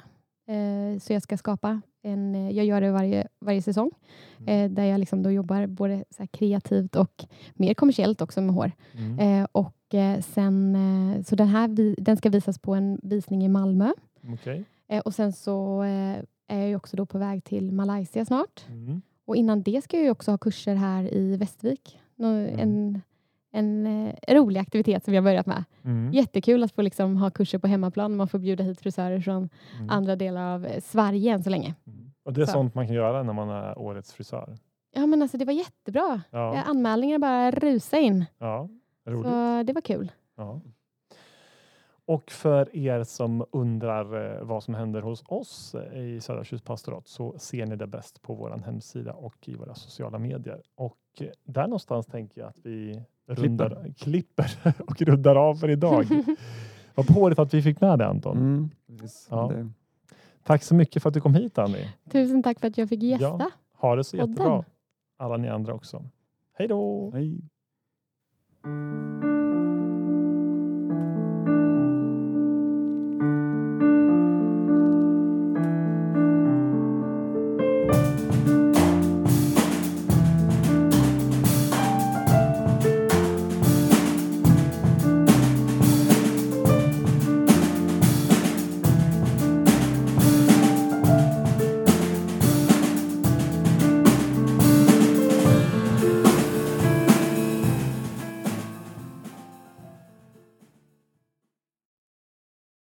[SPEAKER 3] Eh, så jag ska skapa en, eh, jag gör det varje, varje säsong
[SPEAKER 1] Mm.
[SPEAKER 3] eh, där jag liksom då jobbar både så här kreativt och mer kommersiellt också med hår.
[SPEAKER 1] Mm.
[SPEAKER 3] Eh, och eh, sen, eh, så den här vi, den ska visas på en visning i Malmö
[SPEAKER 1] Okej.
[SPEAKER 3] eh, och sen så eh, är jag ju också då på väg till Malaysia snart.
[SPEAKER 1] Mm.
[SPEAKER 3] Och innan det ska jag ju också ha kurser här i Västervik. Nå-
[SPEAKER 1] Mm.
[SPEAKER 3] En, en eh, rolig aktivitet som jag börjat med.
[SPEAKER 1] Mm.
[SPEAKER 3] Jättekul att få liksom ha kurser på hemmaplan. Man får bjuda hit frisörer från
[SPEAKER 1] Mm.
[SPEAKER 3] andra delar av eh, Sverige än så länge.
[SPEAKER 1] Och det är
[SPEAKER 3] Så.
[SPEAKER 1] sånt man kan göra när man är årets frisör.
[SPEAKER 3] Ja men alltså det var jättebra. Ja.
[SPEAKER 1] Ja,
[SPEAKER 3] Anmälningarna bara rusade in.
[SPEAKER 1] ja. roligt.
[SPEAKER 3] Så det var kul.
[SPEAKER 1] Ja. Och för er som undrar eh, vad som händer hos oss eh, i Södra Tjus pastorat så ser ni det bäst på vår hemsida och i våra sociala medier. Och eh, där någonstans tänker jag att vi rundar, klipper och rundar av för idag. Vad påligt att vi fick med det Anton.
[SPEAKER 2] Mm, precis.
[SPEAKER 1] Ja.
[SPEAKER 2] Det,
[SPEAKER 1] Tack så mycket för att du kom hit Annie.
[SPEAKER 3] Tusen tack för att jag fick gästa.
[SPEAKER 1] Ja. Ha det så
[SPEAKER 3] Podden.
[SPEAKER 1] jättebra. Alla ni andra också. Hej då!
[SPEAKER 2] nej.